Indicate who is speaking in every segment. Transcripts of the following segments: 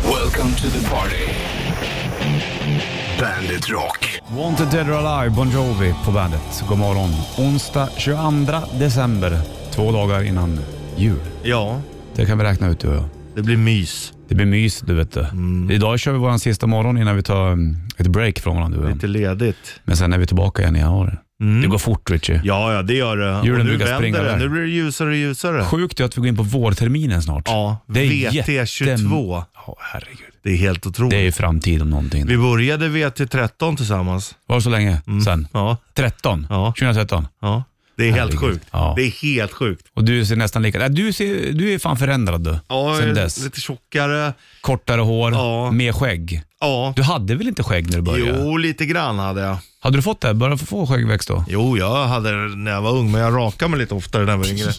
Speaker 1: Welcome to the party. Bandit Rock.
Speaker 2: Wanted Dead or Alive, Bon Jovi på bandet. God morgon. Onsdag 22 december, två dagar innan jul.
Speaker 3: Ja,
Speaker 2: Det kan vi räkna ut du och jag.
Speaker 3: det blir mys.
Speaker 2: Det blir mys du vet du.
Speaker 3: Mm.
Speaker 2: Idag kör vi vår sista morgon innan vi tar mm, ett break från varandra du och jag.
Speaker 3: Lite ledigt.
Speaker 2: Men sen är vi tillbaka igen i januari. Det går fort Richie.
Speaker 3: Ja, ja det gör det.
Speaker 2: Julen
Speaker 3: och nu
Speaker 2: brukar springa
Speaker 3: vänder det.
Speaker 2: iväg.
Speaker 3: Nu blir det ljusare och ljusare.
Speaker 2: Sjukt är att vi går in på vårterminen snart.
Speaker 3: Ja,
Speaker 2: Det är
Speaker 3: VT22.
Speaker 2: Ja, herregud.
Speaker 3: Det är helt otroligt.
Speaker 2: Det är ju framtid om någonting.
Speaker 3: Vi började VT13 tillsammans.
Speaker 2: Var det så länge sen?
Speaker 3: Ja,
Speaker 2: 13?
Speaker 3: Ja.
Speaker 2: 2013?
Speaker 3: ja. Det är helt
Speaker 2: Herregud.
Speaker 3: sjukt.
Speaker 2: Ja.
Speaker 3: Det är helt sjukt.
Speaker 2: Och du ser nästan lika... Nej, Du, ser, du är fan förändrad du.
Speaker 3: Ja,
Speaker 2: sen
Speaker 3: jag är
Speaker 2: dess.
Speaker 3: lite tjockare.
Speaker 2: Kortare hår,
Speaker 3: Ja.
Speaker 2: mer skägg.
Speaker 3: Ja.
Speaker 2: Du hade väl inte skägg när du började?
Speaker 3: Jo, lite grann hade jag.
Speaker 2: Hade du fått det? Började du få skäggväxt då?
Speaker 3: Jo, jag hade det när jag var ung, men jag rakade mig lite oftare när jag var yngre.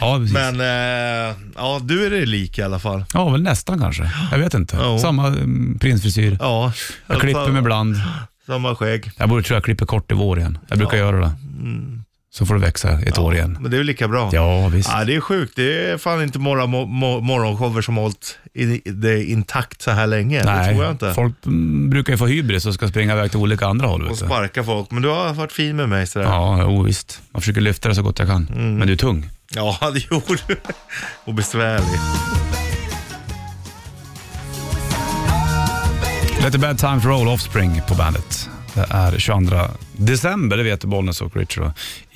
Speaker 2: Ja, precis.
Speaker 3: Men eh, ja, du är det lik i alla fall.
Speaker 2: Ja, väl nästan kanske. Jag vet inte.
Speaker 3: Ja.
Speaker 2: Samma mm, prinsfrisyr.
Speaker 3: Ja, Alltså,
Speaker 2: Jag klipper mig ibland.
Speaker 3: Samma skägg.
Speaker 2: Jag borde tror jag klipper kort i vår igen. Jag brukar göra det.
Speaker 3: Mm.
Speaker 2: Så får det växa ett år igen.
Speaker 3: Men det är väl lika bra.
Speaker 2: Ja, visst.
Speaker 3: Ja, det är sjukt. Det är fan inte morgon, mo, morgonshower som hållit i- det intakt så här länge. Det
Speaker 2: Nej,
Speaker 3: tror jag inte.
Speaker 2: folk mm, brukar ju få hybris och ska springa iväg till olika andra håll.
Speaker 3: Och
Speaker 2: Vet du.
Speaker 3: sparka folk. Men du har varit fin med mig sådär.
Speaker 2: Ja, jo, visst. Man försöker lyfta det så gott jag kan.
Speaker 3: Mm.
Speaker 2: Men du är tung.
Speaker 3: Ja, det gjorde du. Och besvärlig.
Speaker 2: Let the bad times roll, Offspring på bandet. Det är 22 december, det vet Bollnäs och Richard då,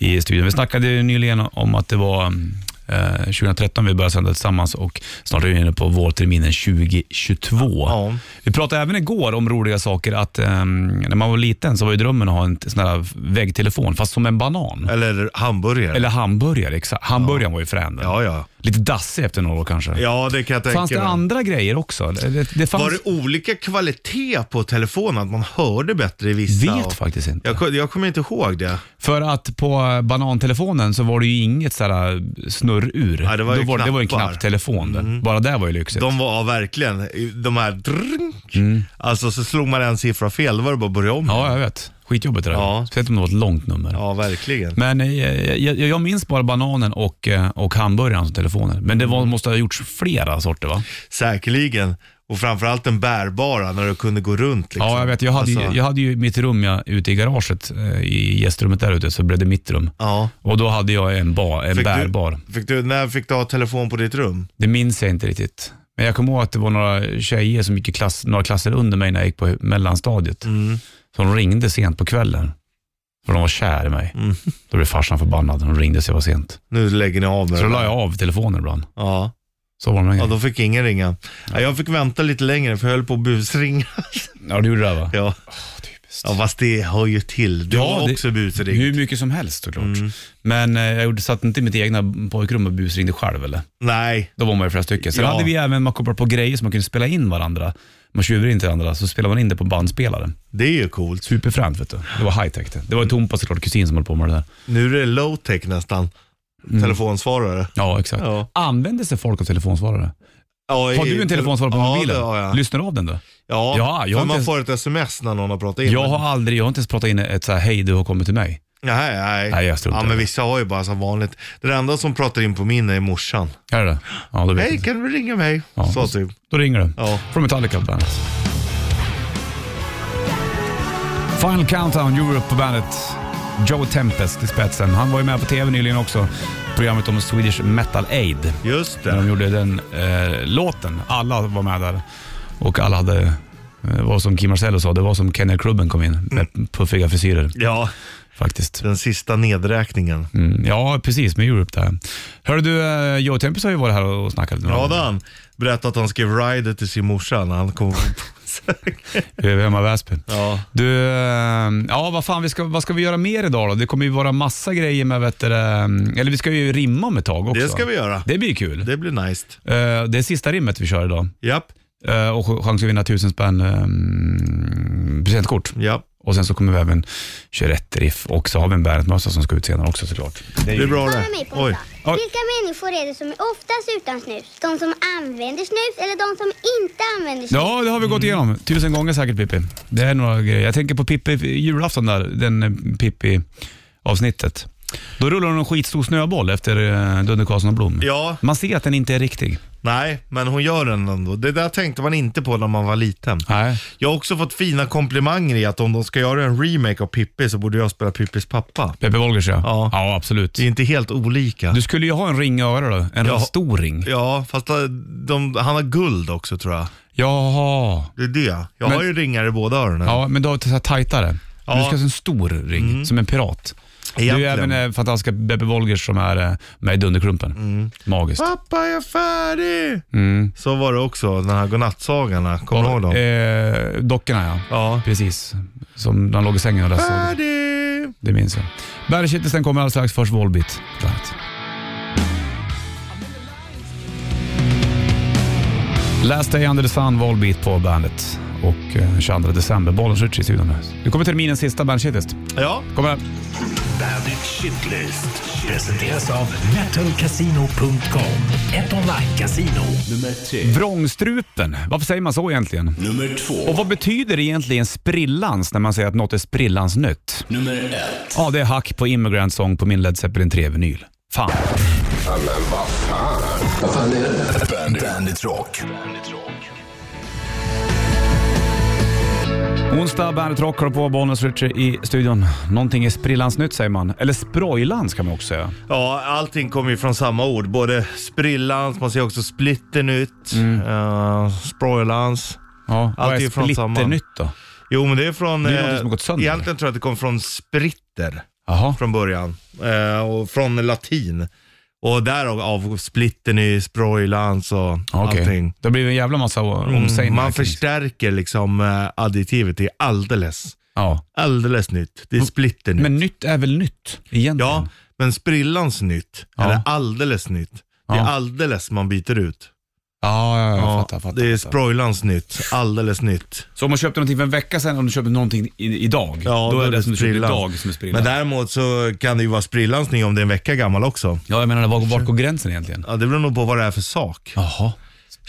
Speaker 2: i studion. Vi snackade ju nyligen om att det var mm, eh, 2013 vi började sända tillsammans och snart är vi inne på vårterminen 2022.
Speaker 3: Ja.
Speaker 2: Vi pratade även igår om roliga saker, att ehm, när man var liten så var ju drömmen att ha en t- sån här väggtelefon, fast som en banan.
Speaker 3: Eller hamburgare.
Speaker 2: Eller hamburgare, exakt. Hamburgaren var ju frän. den.
Speaker 3: Ja, ja.
Speaker 2: Lite dassig efter några år kanske.
Speaker 3: Ja, det kan jag tänka
Speaker 2: Fanns det
Speaker 3: mig.
Speaker 2: andra grejer också? Det, det, det fanns...
Speaker 3: Var det olika kvalitet på telefonen? Att man hörde bättre i vissa?
Speaker 2: Vet
Speaker 3: och-
Speaker 2: faktiskt inte.
Speaker 3: Jag, ko- jag kommer inte ihåg det.
Speaker 2: För att på bantelefonen så var det ju inget sådär snurrur.
Speaker 3: Nej, det var ju
Speaker 2: Då det var ju en
Speaker 3: knappar. Mm.
Speaker 2: knapptelefon. det. Bara det var ju lyxigt.
Speaker 3: De var ja, verkligen, de här drrrnk. Alltså så slog man en siffra fel, då var det bara att börja om.
Speaker 2: Mm. Ja, jag vet. Skitjobbigt det där.
Speaker 3: Ja.
Speaker 2: Speciellt om det var ett långt nummer.
Speaker 3: ja verkligen.
Speaker 2: Men eh, jag, jag, jag minns bara bananen och, eh, och hamburgaren som telefoner. Men det var,
Speaker 3: Mm.
Speaker 2: måste ha gjorts flera sorter va?
Speaker 3: Säkerligen. Och framförallt den bärbara när du kunde gå runt. Liksom.
Speaker 2: Ja, jag vet. Jag hade, ju,
Speaker 3: Alltså,
Speaker 2: jag hade ju mitt rum jag, ute i garaget, eh, i gästrummet där ute, så blev det mitt rum.
Speaker 3: ja.
Speaker 2: Och då hade jag en, ba, en
Speaker 3: Fick
Speaker 2: bärbar.
Speaker 3: Du, fick du, när fick du ha telefon på ditt rum?
Speaker 2: Det minns jag inte riktigt. Men jag kommer ihåg att det var några tjejer som gick i klass, några klasser under mig när jag gick på mellanstadiet.
Speaker 3: Mm.
Speaker 2: Som ringde sent på kvällen. För de var kär i mig.
Speaker 3: Mm.
Speaker 2: Då blev farsan förbannad. De ringde så jag var sent.
Speaker 3: Nu lägger ni av med
Speaker 2: Så då
Speaker 3: det.
Speaker 2: la jag av telefonen ibland.
Speaker 3: Ja.
Speaker 2: Så var det med
Speaker 3: ja,
Speaker 2: ja,
Speaker 3: då fick ingen ringa. Ja, jag fick vänta lite längre för jag höll på att busringa.
Speaker 2: ja, du gjorde det va?
Speaker 3: Ja. ja, fast det hör ju till. Du
Speaker 2: Ja,
Speaker 3: har
Speaker 2: det- Mm.
Speaker 3: också busring.
Speaker 2: Hur mycket som helst såklart.
Speaker 3: Mm.
Speaker 2: Men eh, jag gjorde- satt inte i mitt egna pojkrum och busringde själv eller?
Speaker 3: Nej,
Speaker 2: Då var man ju flera stycken. Sen
Speaker 3: Ja.
Speaker 2: hade vi även, man kopplade på grejer som man kunde spela in varandra. Man tjuvrade inte varandra, så spelade man in det på bandspelaren.
Speaker 3: det är ju coolt.
Speaker 2: Superfränt vet du. Det var high-tech det. Det var ju Tompa såklart, kusin som höll på med det där.
Speaker 3: Nu är det low tech nästan.
Speaker 2: Mm.
Speaker 3: Telefonsvarare.
Speaker 2: Ja, exakt.
Speaker 3: Ja.
Speaker 2: Använder sig folk av telefonsvarare?
Speaker 3: Ja,
Speaker 2: Har
Speaker 3: i-
Speaker 2: du en telefonsvarare på
Speaker 3: ja,
Speaker 2: mobilen?
Speaker 3: Det har jag.
Speaker 2: Lyssnar du av den då?
Speaker 3: Ja,
Speaker 2: Ja, jag har
Speaker 3: för man
Speaker 2: inte-
Speaker 3: får ett sms när någon har pratat in.
Speaker 2: Jag har aldrig, jag har inte ens pratat in ett så här, hej du har kommit till mig.
Speaker 3: Nej, nej.
Speaker 2: Nej, jag struntar
Speaker 3: ja,
Speaker 2: i
Speaker 3: men
Speaker 2: det.
Speaker 3: vissa har ju bara som vanligt. Det enda som pratar in på min är morsan.
Speaker 2: Är det det? Ja, då vet jag
Speaker 3: Hej,
Speaker 2: inte.
Speaker 3: kan du ringa mig?
Speaker 2: Ja.
Speaker 3: Så typ.
Speaker 2: Då ringer du.
Speaker 3: Ja.
Speaker 2: Från Metallica på bandet. Final Countdown, Europe på bandet. Joe Tempest i spetsen. Han var ju med på TV nyligen också. Programmet om Swedish Metal Aid.
Speaker 3: Just
Speaker 2: När de
Speaker 3: det.
Speaker 2: gjorde den eh, låten. Alla var med där. Och alla hade, eh, var som Kim Marcello sa, det var som Kenny Krubben kom in med puffiga frisyrer
Speaker 3: Mm. Ja,
Speaker 2: faktiskt.
Speaker 3: den sista nedräkningen.
Speaker 2: Mm, ja, precis med Europe där. Hörde du, eh, Joe Tempest har ju varit här och snackat lite.
Speaker 3: Ja, då han berättade att han skrev rider till sin morsa när han kom.
Speaker 2: Eh, Hemma i Väsby.
Speaker 3: ja.
Speaker 2: Du, eh, ja vad fan, vi ska, vad ska vi göra mer idag då? Det kommer ju vara massa grejer med, vet du, eh, eller vi ska ju rimma om ett tag också.
Speaker 3: Det ska vi göra.
Speaker 2: Det blir kul.
Speaker 3: Det blir nice.
Speaker 2: Eh, det är sista rimmet vi kör idag.
Speaker 3: Japp,
Speaker 2: Eh, och ch- chans att vinna tusen spänn eh, presentkort.
Speaker 3: japp.
Speaker 2: Och sen så kommer vi även köra ett riff och så har vi en Bandet-mössa som ska ut senare också såklart.
Speaker 3: Det är bra
Speaker 4: Svara
Speaker 3: det.
Speaker 4: mig på
Speaker 3: Oj.
Speaker 4: Oj. Vilka människor är det som är oftast utan snus? De som använder snus eller de som inte använder snus?
Speaker 2: Ja, det har vi gått igenom. Tusen gånger säkert Pippi. Det är några grejer. Jag tänker på Pippi julafton där, den eh, Pippi-avsnittet. Då rullar hon en skitstor snöboll efter eh, Dunder Karlsson och Blom.
Speaker 3: Ja,
Speaker 2: Man ser att den inte är riktig.
Speaker 3: Nej, men hon gör den ändå. Det där tänkte man inte på när man var liten.
Speaker 2: Nej.
Speaker 3: Jag har också fått fina komplimanger i att om de ska göra en remake av Pippi så borde jag spela Pippis pappa.
Speaker 2: Peppe Wolgers ja.
Speaker 3: Ja.
Speaker 2: Ja, absolut.
Speaker 3: Det är inte helt olika.
Speaker 2: Du skulle ju ha en ring i örat då. En
Speaker 3: Ja.
Speaker 2: stor ring.
Speaker 3: Ja, fast eh, de, han har guld också tror jag.
Speaker 2: Jaha.
Speaker 3: Det är det. Jag
Speaker 2: Men-
Speaker 3: har ju ringar i båda öronen.
Speaker 2: Ja, men du har ett så här tajtare. Du ska ha en stor ring,
Speaker 3: Mm.
Speaker 2: som en pirat. Du är
Speaker 3: Egentligen.
Speaker 2: även eh, fantastiska Beppe Wolgers som är eh, med i Dunderklumpen.
Speaker 3: Mm.
Speaker 2: Magiskt.
Speaker 3: Pappa, jag är färdig! Så var det också, den här godnattsagorna. Kommer du ihåg dem?
Speaker 2: Mm. Eh, dockorna ja.
Speaker 3: Ja. Ah.
Speaker 2: Precis. Som när han låg i sängen och läste.
Speaker 3: Färdig!
Speaker 2: Det minns jag. Bergkittelsen kommer alldeles strax. Först Volbeat. på bandet. Last Day Under the Sun, Volbeat på bandet. Och eh, 22 december, bollen skjuts i studion. nu. Nu kommer terminens sista Bandshitist.
Speaker 3: Ja,
Speaker 2: Kommer här.
Speaker 1: Bandit Shitlist presenteras av metalcasino.com. Ett online-casino. Nummer tre.
Speaker 2: Vrångstrupen, varför säger man så egentligen?
Speaker 1: Nummer
Speaker 2: Och
Speaker 1: två.
Speaker 2: vad betyder egentligen sprillans när man säger att något är sprillans nytt?
Speaker 1: Nummer ett.
Speaker 2: Ja, det är hack på Immigrant Song på min Led Zeppelin 3-vinyl. Fan.
Speaker 1: Bandit, Bandit Rock. Bandit Rock.
Speaker 2: Onsdag, Bandet Rock har på Bonus Richie i studion. Någonting är sprillans nytt säger man. Eller sprojlans kan man också säga.
Speaker 3: ja allting kommer ju från samma ord. Både sprillans, man säger också splitternytt,
Speaker 2: Mm.
Speaker 3: eh, sproilans.
Speaker 2: Ja, vad
Speaker 3: Allt
Speaker 2: är
Speaker 3: är från samma.
Speaker 2: splitternytt då?
Speaker 3: Jo, men det är från... eh,
Speaker 2: Det är någonting som har gått sönder.
Speaker 3: egentligen tror jag att det kom från spritter
Speaker 2: Jaha.
Speaker 3: från början. Eh, och från latin. Och därav av splitten i sproilans och
Speaker 2: Okej.
Speaker 3: allting.
Speaker 2: Det blir en jävla massa o-
Speaker 3: Mm,
Speaker 2: omsägningar.
Speaker 3: man
Speaker 2: kring-
Speaker 3: förstärker liksom eh, additivet. Det är alldeles,
Speaker 2: Ja.
Speaker 3: alldeles nytt. Det är splitternytt.
Speaker 2: Mm. Men nytt är väl nytt egentligen?
Speaker 3: ja, men sprillans nytt.
Speaker 2: Ja.
Speaker 3: Eller alldeles nytt. Det är
Speaker 2: Ja.
Speaker 3: alldeles man byter ut.
Speaker 2: Ja, ja, ja, jag
Speaker 3: Ja,
Speaker 2: fattar. fattar,
Speaker 3: det är
Speaker 2: fattar.
Speaker 3: sproilans nytt. Alldeles nytt.
Speaker 2: Så om man köpte någonting för en vecka sedan och du köper någonting i, idag,
Speaker 3: Ja,
Speaker 2: då är det, som du köpte
Speaker 3: sprillans.
Speaker 2: idag som är sprillans.
Speaker 3: Men däremot så kan det ju vara sprillans nytt om det är en vecka gammal också.
Speaker 2: Ja, jag menar, var, var går gränsen egentligen?
Speaker 3: Ja, det beror nog på vad det är för sak.
Speaker 2: Jaha.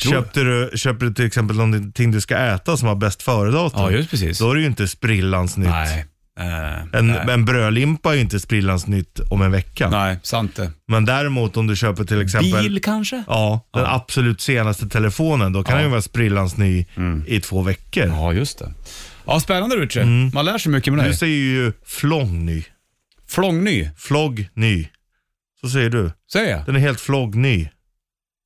Speaker 2: Tror-
Speaker 3: Köpte du, köper du till exempel någonting du ska äta som har bäst före-datum,
Speaker 2: Ja, just precis.
Speaker 3: då är det ju inte sprillans nytt.
Speaker 2: Nej. Eh,
Speaker 3: En,
Speaker 2: nej.
Speaker 3: en brödlimpa är ju inte sprillans nytt om en vecka.
Speaker 2: nej, sant det.
Speaker 3: Men däremot om du köper till exempel
Speaker 2: Bil kanske?
Speaker 3: Ja, den absolut senaste telefonen, då kan den ju vara sprillans ny i två veckor.
Speaker 2: Mm. Ja, just det. Ja, spännande Richie. Man lär sig mycket med
Speaker 3: Du
Speaker 2: dig.
Speaker 3: säger ju flång ny,
Speaker 2: Flångny,
Speaker 3: flogg ny. Så säger du.
Speaker 2: säger jag.
Speaker 3: Den är helt flogg ny.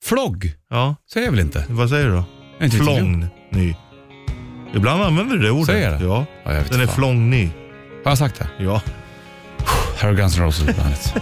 Speaker 2: Flogg,
Speaker 3: Ja,
Speaker 2: säger jag väl inte?
Speaker 3: vad säger du då?
Speaker 2: Jag vet inte riktigt.
Speaker 3: Flång ny. Ibland använder du det ordet.
Speaker 2: Säger jag det?
Speaker 3: Ja.
Speaker 2: Ja, jag vet
Speaker 3: Den är
Speaker 2: fan.
Speaker 3: flång ny.
Speaker 2: Har jag sagt det?
Speaker 3: Ja.
Speaker 2: Här har Guns N' Roses på bandet.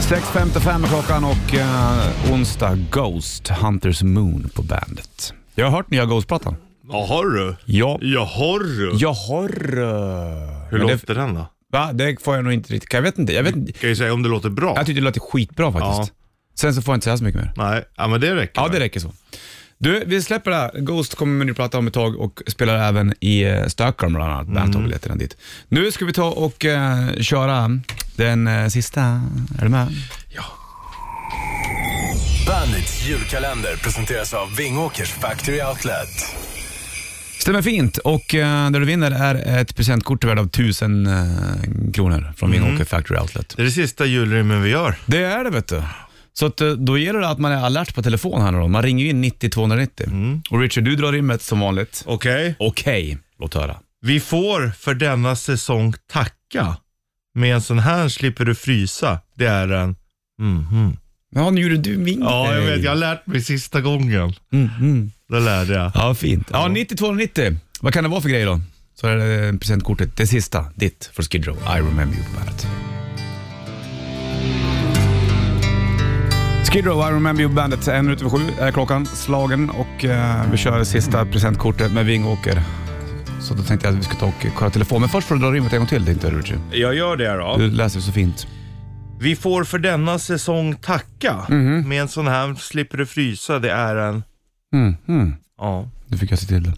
Speaker 2: 6.55 är klockan och eh, onsdag Ghost Hunters Moon på bandet. Jag har hört nya Ghost-plattan.
Speaker 3: Jaha du.
Speaker 2: Ja.
Speaker 3: Jaha du.
Speaker 2: Jag har... eh,
Speaker 3: Hur
Speaker 2: men det,
Speaker 3: låter den då?
Speaker 2: va? det får jag nog inte riktigt... Jag vet inte. Jag, vet, inte.
Speaker 3: Kan ju säga om det låter bra.
Speaker 2: jag tyckte det lät skitbra faktiskt. Sen så får jag inte säga så mycket mer.
Speaker 3: Nej, ja, men det räcker.
Speaker 2: Ja, det räcker så. Du, vi släpper det här. Ghost kommer med en ny platta om ett tag och spelar även i eh, Stockholm bland annat. Bandet har biljetterna dit. Nu ska vi ta och eh, köra den eh, sista. Är du med?
Speaker 1: Bandits julkalender presenteras av Vingåkers Factory Outlet.
Speaker 2: Stämmer fint och eh, det du vinner är ett presentkort värd av 1000 eh, kronor från Vingåker Factory Outlet.
Speaker 3: Det är det sista julrimmen vi gör.
Speaker 2: Det är det vet du. Så att, eh, då gäller det att man är alert på telefon här nu då. Man ringer ju in 90 290. Och Richard, du drar rimmet som vanligt.
Speaker 3: Mm. Okej.
Speaker 2: Okej, låt höra.
Speaker 3: Vi får för denna säsong tacka. Med en sån här slipper du frysa. Det är en... Mhm.
Speaker 2: Ja, nu gjorde du min
Speaker 3: Ja, jag
Speaker 2: grej.
Speaker 3: vet. Jag har lärt mig sista gången. Det lärde jag.
Speaker 2: Ja, fint. Ja, 9290. Vad kan det vara för grej då? Så är det eh, presentkortet, det sista, ditt, för Skid Row. I remember you på bandet. Skid Row, I remember you på bandet. En minut över sju är klockan slagen och eh, vi kör sista presentkortet med Vingåker. Så då tänkte jag att vi ska ta och kolla telefon. Men först får du dra rimmet en gång till, tänkte jag Richie.
Speaker 3: Jag gör det då.
Speaker 2: Du läser så fint.
Speaker 3: Vi får för denna säsong tacka.
Speaker 2: Mhm.
Speaker 3: Med en sån här slipper du frysa. Det är en...
Speaker 2: Mm, mm.
Speaker 3: Ja.
Speaker 2: Nu fick jag se till det.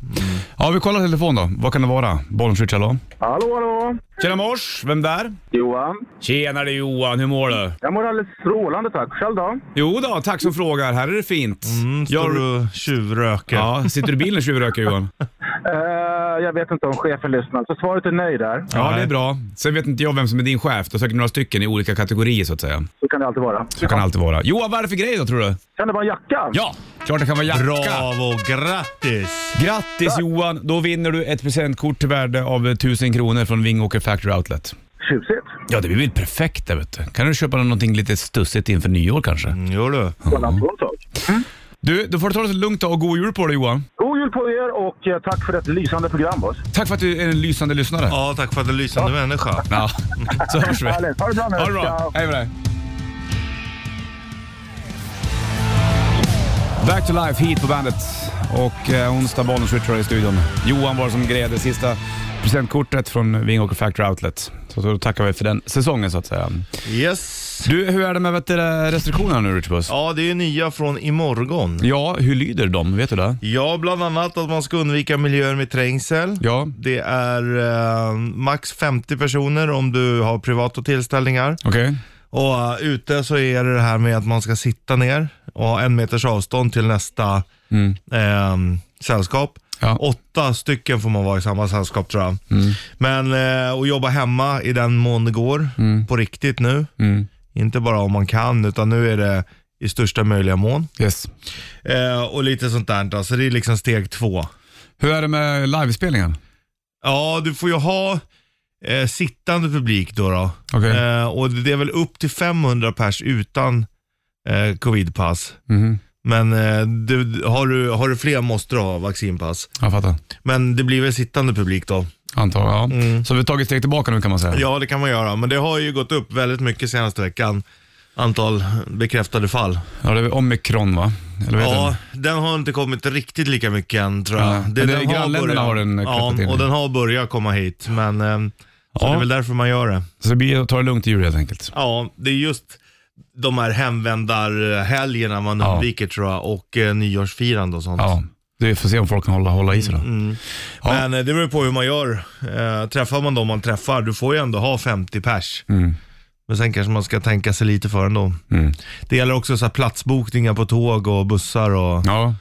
Speaker 2: Ja, vi kollar telefon då. Vad kan det vara? Bollenskytt, hallå?
Speaker 5: Hallå, hallå!
Speaker 2: Tjena mors, vem där?
Speaker 5: Johan.
Speaker 2: Tjenare Johan, hur mår du?
Speaker 5: Jag mår alldeles strålande, tack. Själv då?
Speaker 2: Jo då, tack som frågar. Här är det fint.
Speaker 3: Mm, står
Speaker 2: Jag-
Speaker 3: du och tjuvröker.
Speaker 2: ja, sitter du i bilen och tjuvröker Johan?
Speaker 5: Eh, jag, jag vet inte om chefen lyssnar, så svaret är nej där.
Speaker 2: Ja,
Speaker 3: Nej.
Speaker 2: det är bra. Sen vet inte jag vem som är din chef. Du har säkert några stycken i olika kategorier så att säga.
Speaker 5: Så kan det alltid vara.
Speaker 2: Så kan det alltid vara. Johan, vad är det för grej då tror du?
Speaker 5: Kan det vara en jacka?
Speaker 2: Ja, klart det kan vara jacka.
Speaker 3: Bravo, grattis!
Speaker 2: Grattis Johan! Då vinner du ett presentkort till värde av eh, 1000 kronor från Vingåker Factory Outlet.
Speaker 5: Tjusigt.
Speaker 2: Ja, det blir väl perfekt det vet du. Kan du köpa någonting lite stussigt inför nyår kanske?
Speaker 3: Mm, Gör du?
Speaker 5: Kolla på en sak.
Speaker 2: Du, då får du ta det så lugnt då och god jul på dig Johan.
Speaker 5: God jul på er och eh, tack för ett lysande program, boss.
Speaker 2: Tack för att du är en lysande lyssnare.
Speaker 3: Ja, tack för att du är en lysande människa.
Speaker 2: Ja, så hörs vi.
Speaker 5: Härligt. Ha det bra nu.
Speaker 2: Ha det bra.
Speaker 5: Ciao.
Speaker 2: Hej med dig. Back to life hit på bandet och eh, onsdag Bollnäs Ritual i studion. Johan var som grejade sista presentkortet från Vingåker Factory Outlet. Så då tackar vi för den säsongen så att säga.
Speaker 3: Yes.
Speaker 2: Du, hur är det med vet du, restriktionerna nu Richbus?
Speaker 3: Ja, det är nya från imorgon.
Speaker 2: Ja, hur lyder de? Vet du det?
Speaker 3: Ja, bland annat att man ska undvika miljöer med trängsel.
Speaker 2: Ja.
Speaker 3: Det är eh, max 50 personer om du har privata tillställningar.
Speaker 2: Okej.
Speaker 3: Och eh, ute så är det det här med att man ska sitta ner och ha en meters avstånd till nästa ehm, sällskap.
Speaker 2: Ja.
Speaker 3: Åtta stycken får man vara i samma sällskap tror jag. Men eh, och jobba hemma i den mån det går, på riktigt nu. Inte bara om man kan, utan nu är det i största möjliga mån.
Speaker 2: Yes.
Speaker 3: Eh, och lite sånt där. då. Så det är liksom steg två.
Speaker 2: Hur är det med livespelningen?
Speaker 3: Ja, du får ju ha eh, sittande publik då. då.
Speaker 2: Okej.
Speaker 3: Eh, och det är väl upp till 500 pers utan eh, covidpass.
Speaker 2: Mhm.
Speaker 3: Men eh, du, har, du, har du fler måste du ha vaccinpass.
Speaker 2: Jag fattar.
Speaker 3: Men det blir väl sittande publik då.
Speaker 2: Antar jag. Så vi har tagit ett steg tillbaka nu kan man säga.
Speaker 3: Mm. Ja, det kan man göra. Men det har ju gått upp väldigt mycket senaste veckan. Antal bekräftade fall.
Speaker 2: Ja, det är omikron va? Eller vad heter
Speaker 3: Ja,
Speaker 2: den?
Speaker 3: den har inte kommit riktigt lika mycket än tror jag.
Speaker 2: Ja, men det är grannländerna har den, eh,
Speaker 3: Ja,
Speaker 2: klättrat in i.
Speaker 3: och den har börjat komma hit. Men eh, så
Speaker 2: Ja.
Speaker 3: det är väl därför man gör det.
Speaker 2: Så det blir att ta det lugnt i jul helt enkelt.
Speaker 3: Ja, det är just de här hemvändarhelgerna man
Speaker 2: Ja.
Speaker 3: undviker tror jag och eh, nyårsfirande och sånt.
Speaker 2: Ja, vi får se om folk kan hålla, hålla i sig då.
Speaker 3: Mm.
Speaker 2: Ja.
Speaker 3: Men eh, det beror ju på hur man gör. Eh, träffar man dem man träffar, du får ju ändå ha 50 pers.
Speaker 2: Mm.
Speaker 3: Men sen kanske man ska tänka sig lite för ändå. Det gäller också så här platsbokningar på tåg och bussar och
Speaker 2: Ja.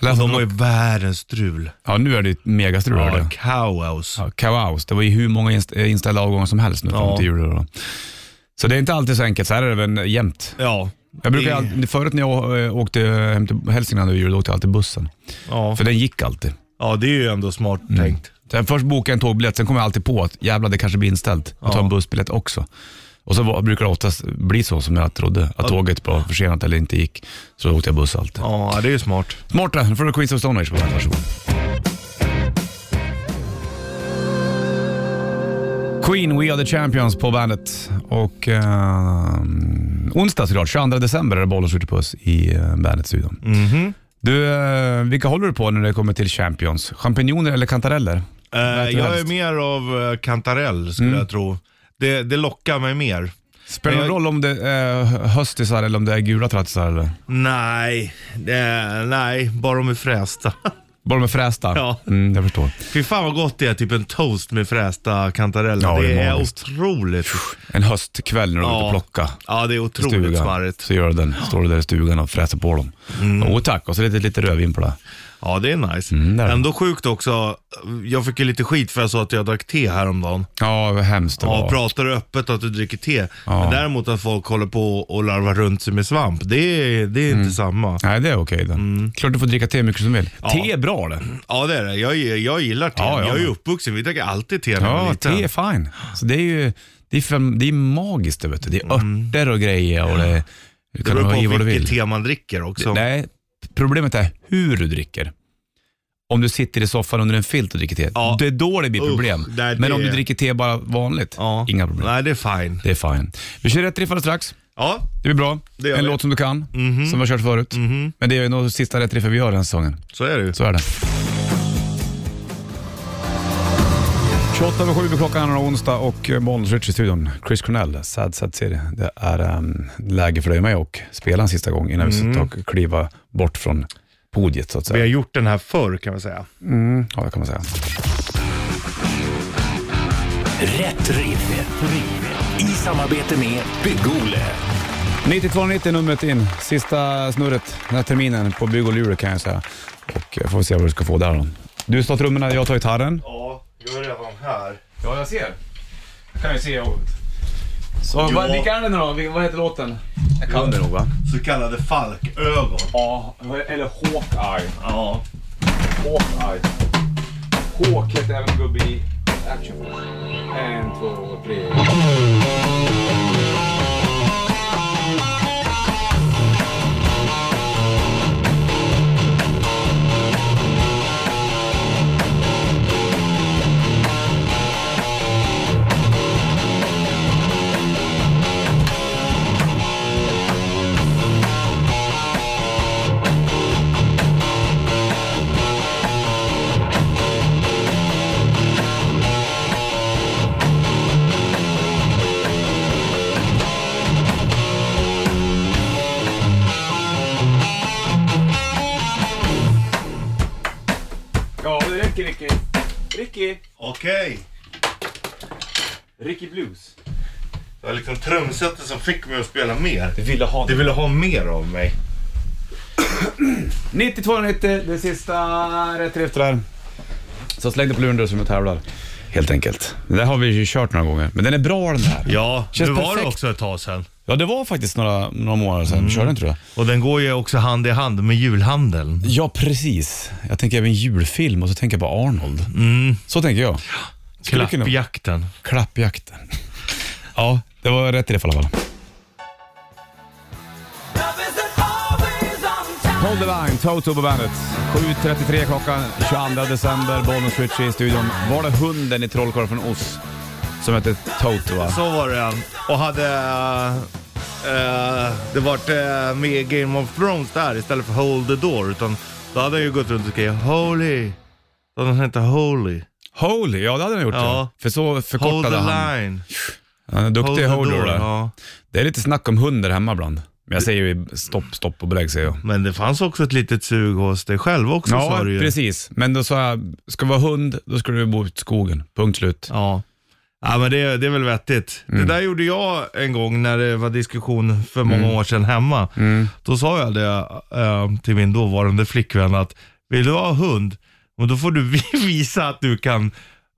Speaker 2: Jag läste
Speaker 3: de
Speaker 2: om-
Speaker 3: har ju världens strul.
Speaker 2: ja, nu är det ju ett megastrul. hörde
Speaker 3: Ja,
Speaker 2: jag.
Speaker 3: kaos.
Speaker 2: Ja, kaos. Det var ju hur många inst- eh, inställda avgångar som helst nu fram
Speaker 3: Ja.
Speaker 2: till jul. då. Så det är inte alltid så enkelt. Så här är det väl jämt.
Speaker 3: Ja.
Speaker 2: Jag brukar
Speaker 3: det-
Speaker 2: alltid, förut när jag eh, åkte hem till Hälsingland över jul, då åkte jag alltid bussen.
Speaker 3: ja.
Speaker 2: För den gick alltid.
Speaker 3: ja, det är ju ändå smart
Speaker 2: Mm.
Speaker 3: tänkt.
Speaker 2: Så jag först bokade jag en tågbiljett, sen kom jag alltid på att jävlar det kanske blir inställt. Jag tar en bussbiljett också. Och så var, brukar det oftast bli så som jag trodde, att tåget var försenat eller inte gick. Så då åkte jag buss alltid.
Speaker 3: Ja, det är ju smart.
Speaker 2: Smart det, nu får du Queens of Stone Age på bandet, varsågod. Queen, We Are The Champions på bandet. Och eh, onsdag såklart, 22 december är det bollen skjuter puss i eh, bandet-studion. Du, eh, vilka håller du på när det kommer till Champions? Champinjoner eller kantareller?
Speaker 3: Eh,
Speaker 2: Verkligen
Speaker 3: jag är
Speaker 2: helst.
Speaker 3: mer av eh, kantarell skulle
Speaker 2: Mm.
Speaker 3: jag tro. Det, det lockar mig mer.
Speaker 2: Spelar det
Speaker 3: Jag-
Speaker 2: någon roll om det är höstisar eller om det är gula trattisar? Eller?
Speaker 3: Nej, det, nej, bara de är frästa.
Speaker 2: Bara de är frästa?
Speaker 3: Ja.
Speaker 2: Mm, jag förstår.
Speaker 3: Fy fan vad gott det är, typ en toast med frästa kantareller.
Speaker 2: Ja,
Speaker 3: det,
Speaker 2: det är
Speaker 3: är
Speaker 2: magiskt.
Speaker 3: otroligt.
Speaker 2: En höstkväll när du är ute och
Speaker 3: Ja.
Speaker 2: plockar.
Speaker 3: Ja, det är otroligt
Speaker 2: stugan.
Speaker 3: smarrigt.
Speaker 2: Så gör du den. Står du där i stugan och fräser på dem.
Speaker 3: Mm.
Speaker 2: Jo tack, och så lite, lite rödvin på det.
Speaker 3: Ja, det är nice.
Speaker 2: Mm, där.
Speaker 3: Ändå sjukt också, jag fick ju lite skit för jag sa att jag drack te häromdagen.
Speaker 2: Ja, vad hemskt det
Speaker 3: Ja,
Speaker 2: var.
Speaker 3: pratar du öppet att du dricker te.
Speaker 2: Ja.
Speaker 3: Men däremot att folk håller på och larvar runt sig med svamp, det, är- det
Speaker 2: Mm.
Speaker 3: är inte samma.
Speaker 2: Nej, det är okej det.
Speaker 3: Mm.
Speaker 2: Klart du får dricka te hur mycket som vill. Te är bra det.
Speaker 3: Ja, det är det. Jag, jag gillar te.
Speaker 2: Ja, ja.
Speaker 3: Jag är ju uppvuxen, vi drack alltid te när jag var
Speaker 2: Ja,
Speaker 3: liten.
Speaker 2: te är fine. Så det är ju det är fem, det är magiskt det vet du. Det är örter och grejer och det, du
Speaker 3: Mm. Det
Speaker 2: kan ha i
Speaker 3: beror
Speaker 2: vad
Speaker 3: på
Speaker 2: du
Speaker 3: vilket
Speaker 2: vill.
Speaker 3: te man dricker också.
Speaker 2: Nej, problemet är hur du dricker. Om du sitter i soffan under en filt och dricker te,
Speaker 3: Ja.
Speaker 2: det är då det blir
Speaker 3: Usch,
Speaker 2: problem.
Speaker 3: nej,
Speaker 2: Men om
Speaker 3: det-
Speaker 2: du dricker te bara vanligt,
Speaker 3: Ja.
Speaker 2: inga problem.
Speaker 3: Nej, det är fine.
Speaker 2: Det är fine. Vi kör rätt riff alldeles strax.
Speaker 3: Ja,
Speaker 2: Det blir bra.
Speaker 3: Det gör
Speaker 2: en
Speaker 3: vi. Mhm.
Speaker 2: låt som du kan, som vi har kört förut. Men det är ju nog sista rätt riffet vi gör den här säsongen.
Speaker 3: så är det ju.
Speaker 2: Så är det. 28 över 7 blir klockan och onsdag och eh, Måns Rich i studion. Chris Cornell, Sad Sad City. Det är um, läge för dig och mig och spela en sista gång innan vi ska ta och kliva bort från podiet så att
Speaker 3: Vi har
Speaker 2: säga.
Speaker 3: gjort den här förr kan man säga.
Speaker 2: Ja, det kan man säga.
Speaker 1: Rätt riff. I samarbete med Bygg-Ole.
Speaker 2: 9290 numret in, sista snurret den här terminen på Bygg och Luleå kan jag säga. Och eh, får vi se vad du ska få där då. Du slår trummorna, jag tar gitarren.
Speaker 3: Ja, jag är redan här.
Speaker 2: Ja, jag ser. Jag kan ju se. Så,
Speaker 3: Ja. vad- vilka
Speaker 2: är det nu då? Vad heter låten? Jag kan det nog va?
Speaker 3: Så kallade falkögon.
Speaker 2: Ja, eller Hawkeye.
Speaker 3: Ja.
Speaker 2: Hawkeye. Hawk heter även gubbe i Action En, två, tre. Ja, det räcker Ricky. Ricky.
Speaker 3: Okej.
Speaker 2: Ricky Blues.
Speaker 3: Det var liksom trumsetet som fick mig att spela mer.
Speaker 2: Du ville ha
Speaker 3: Det ville ha mer av mig.
Speaker 2: 9290, det sista rätt till efter det här. Så släng dig på luren där som du tävlar. Helt enkelt. Det där har vi ju kört några gånger, men den är bra den där.
Speaker 3: Ja,
Speaker 2: Känns
Speaker 3: nu var
Speaker 2: perfekt.
Speaker 3: det också ett tag sedan.
Speaker 2: Ja, det var faktiskt några, några månader sedan. Körde inte du det?
Speaker 3: Och den går ju också hand i hand med julhandeln.
Speaker 2: Ja, precis. Jag tänker även julfilm och så tänker jag på Arnold. Så tänker jag. Skulle kunna-
Speaker 3: Klappjakten.
Speaker 2: Klappjakten. Ja, det var rätt i det fall i alla fall. Hold the line, Toto på bandet. 7.33 klockan 22 december, Bollnäs Ritchie i studion. Var det hunden i Trollkarlen från Oz som hette Toto va?
Speaker 3: Så var det. Och hade eh, det varit eh, med i Game of Thrones där istället för Hold the Door. Utan då hade han ju gått runt och skrivit Holy. Då hade han hette Holy.
Speaker 2: Holy, ja det hade han gjort ja.
Speaker 3: Ja.
Speaker 2: För så
Speaker 3: Hold the
Speaker 2: förkortade han.
Speaker 3: line.
Speaker 2: Han är duktig holder där.
Speaker 3: Ja.
Speaker 2: Det är lite snack om hundar hemma ibland. Men jag säger ju stopp, stopp och belägg säger jag.
Speaker 3: Men det fanns också ett litet sug hos dig själv också
Speaker 2: Ja,
Speaker 3: sa du ju.
Speaker 2: precis. Men då sa jag, ska du vara hund, då ska du bo ute i skogen. Punkt slut.
Speaker 3: Ja. Ja men det, det är väl vettigt.
Speaker 2: Mm.
Speaker 3: Det där gjorde jag en gång när det var diskussion för många
Speaker 2: Mm.
Speaker 3: år sedan hemma. Då sa jag det eh, till min dåvarande flickvän att vill du ha hund, och då får du visa att du kan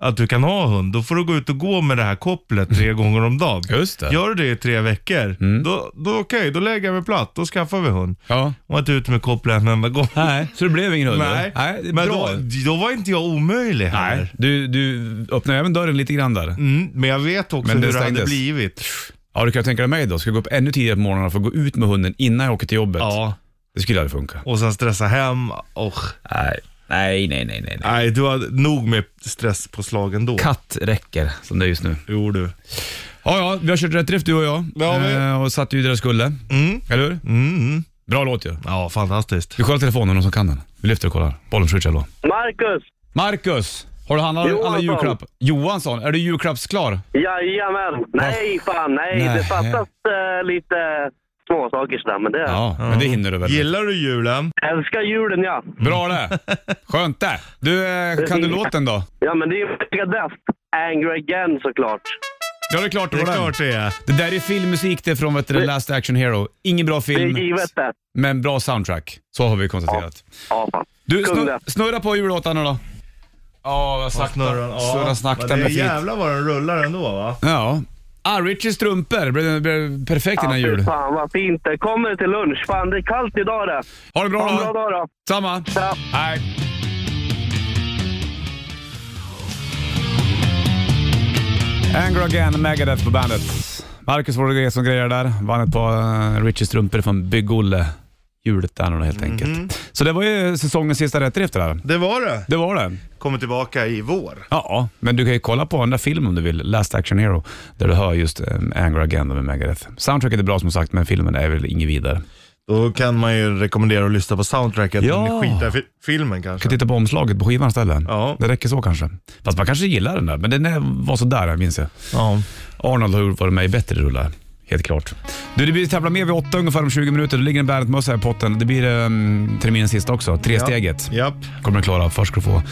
Speaker 3: att du kan ha hund, då får du gå ut och gå med det här kopplet tre gånger om dagen.
Speaker 2: Mm. Just det. Mm.
Speaker 3: Gör du det i tre veckor, då, då okej, då lägger jag mig platt, då skaffar vi hund.
Speaker 2: Ja.
Speaker 3: Och inte ut med kopplet en enda gång.
Speaker 2: Nej, så det blev ingen hund?
Speaker 3: Nej,
Speaker 2: Nej det är
Speaker 3: men
Speaker 2: bra.
Speaker 3: då, då var inte jag omöjlig här.
Speaker 2: Nej. Du, du öppnar även dörren lite grann där.
Speaker 3: Mm, men jag vet också
Speaker 2: Men det
Speaker 3: hur det hade
Speaker 2: stängdes.
Speaker 3: blivit.
Speaker 2: Ja, du kan ju tänka dig mig då. Ska jag gå upp ännu tidigare på morgonen för att gå ut med hunden innan jag åker till jobbet?
Speaker 3: Ja,
Speaker 2: Det skulle aldrig funka.
Speaker 3: och sen stressa hem. Och,
Speaker 2: Nej, nej, nej, nej. nej.
Speaker 3: nej, du har nog med stress på slagen då.
Speaker 2: Katt räcker, som det är just nu.
Speaker 3: Jo du.
Speaker 2: Ja, ja, vi har kört rätt drift du och jag.
Speaker 3: Det har vi.
Speaker 2: Eh, och satt ju där det skulle. Eller hur?
Speaker 3: Mm.
Speaker 2: Bra låt ju.
Speaker 3: Ja, fantastiskt.
Speaker 2: Vi kollar telefonen, någon som kan den. Vi lyfter och kollar. Bollen skjuts hallå.
Speaker 5: Marcus!
Speaker 2: Marcus, har du handlat alla
Speaker 5: Johansson.
Speaker 2: julklappar? Johansson, är du julklappsklar?
Speaker 5: Jajamän! Nej, fan nej.
Speaker 2: Nej.
Speaker 5: Det fattas eh, lite småsaker sådär, men det...
Speaker 2: Ja, men det hinner du väl?
Speaker 3: Gillar du julen?
Speaker 5: Älskar julen, ja.
Speaker 2: Bra det! Skönt det! Du, eh, kan du låten då?
Speaker 5: Ja, men det är ju Megadeth. Angry Again såklart.
Speaker 2: Ja, det är klart
Speaker 3: Det är
Speaker 2: var den.
Speaker 3: klart det är.
Speaker 2: Det där är filmmusik det från vet du, The Last Action Hero. Ingen bra
Speaker 5: Det är
Speaker 2: film,
Speaker 5: givet det.
Speaker 2: men bra soundtrack. Så har vi konstaterat.
Speaker 5: Ja, fan.
Speaker 2: Du,
Speaker 5: Kung
Speaker 2: snurra,
Speaker 5: det.
Speaker 2: snurra på jullåtarna då. Ja,
Speaker 3: Vad snurrar den?
Speaker 2: Snurra
Speaker 3: men
Speaker 2: snakta
Speaker 3: det är
Speaker 2: med flit.
Speaker 3: jävlar vad den rullar ändå va?
Speaker 2: Ja. Ah, Richies strumpor blev, blev perfekt innan
Speaker 5: Ja, fy
Speaker 2: jul.
Speaker 5: fan vad fint det Kommer det till lunch? Fan, det är kallt idag det.
Speaker 2: Ha det bra
Speaker 5: Ha en
Speaker 2: då!
Speaker 5: bra dag då.
Speaker 2: Samma!
Speaker 5: Ja.
Speaker 2: Hej! Angry Again, Megadeth på bandet. Marcus var det som grejer där. Vann ett par eh, Richies strumpor från Bygg-Olle. Hjulet där nu helt enkelt. Så det var ju säsongens sista rätter efter det här.
Speaker 3: Det var det.
Speaker 2: Det var det.
Speaker 3: Kommer tillbaka i vår.
Speaker 2: Ja, men du kan ju kolla på den där filmen om du vill, Last Action Hero, där du hör just eh, Angry Again med Megadeth. Soundtracket är bra som sagt, men filmen är väl inget vidare.
Speaker 3: Då kan man ju rekommendera att lyssna på soundtracket.
Speaker 2: Ja.
Speaker 3: Ja. Om ni skitar i fi- filmen
Speaker 2: kan
Speaker 3: kanske.
Speaker 2: titta på omslaget på skivan istället.
Speaker 3: Ja.
Speaker 2: Det räcker så kanske. Fast man kanske gillar den där, men den är- var sådär minns jag.
Speaker 3: Ja.
Speaker 2: Arnold har varit med i bättre rullar. Helt klart. Du, det blir tävla med vid åtta ungefär om 20 minuter. Det ligger en Bandet-mössa i potten. Det blir um, terminens sista också. Tresteget
Speaker 3: Japp.
Speaker 2: kommer du klara. Först ska du få eh,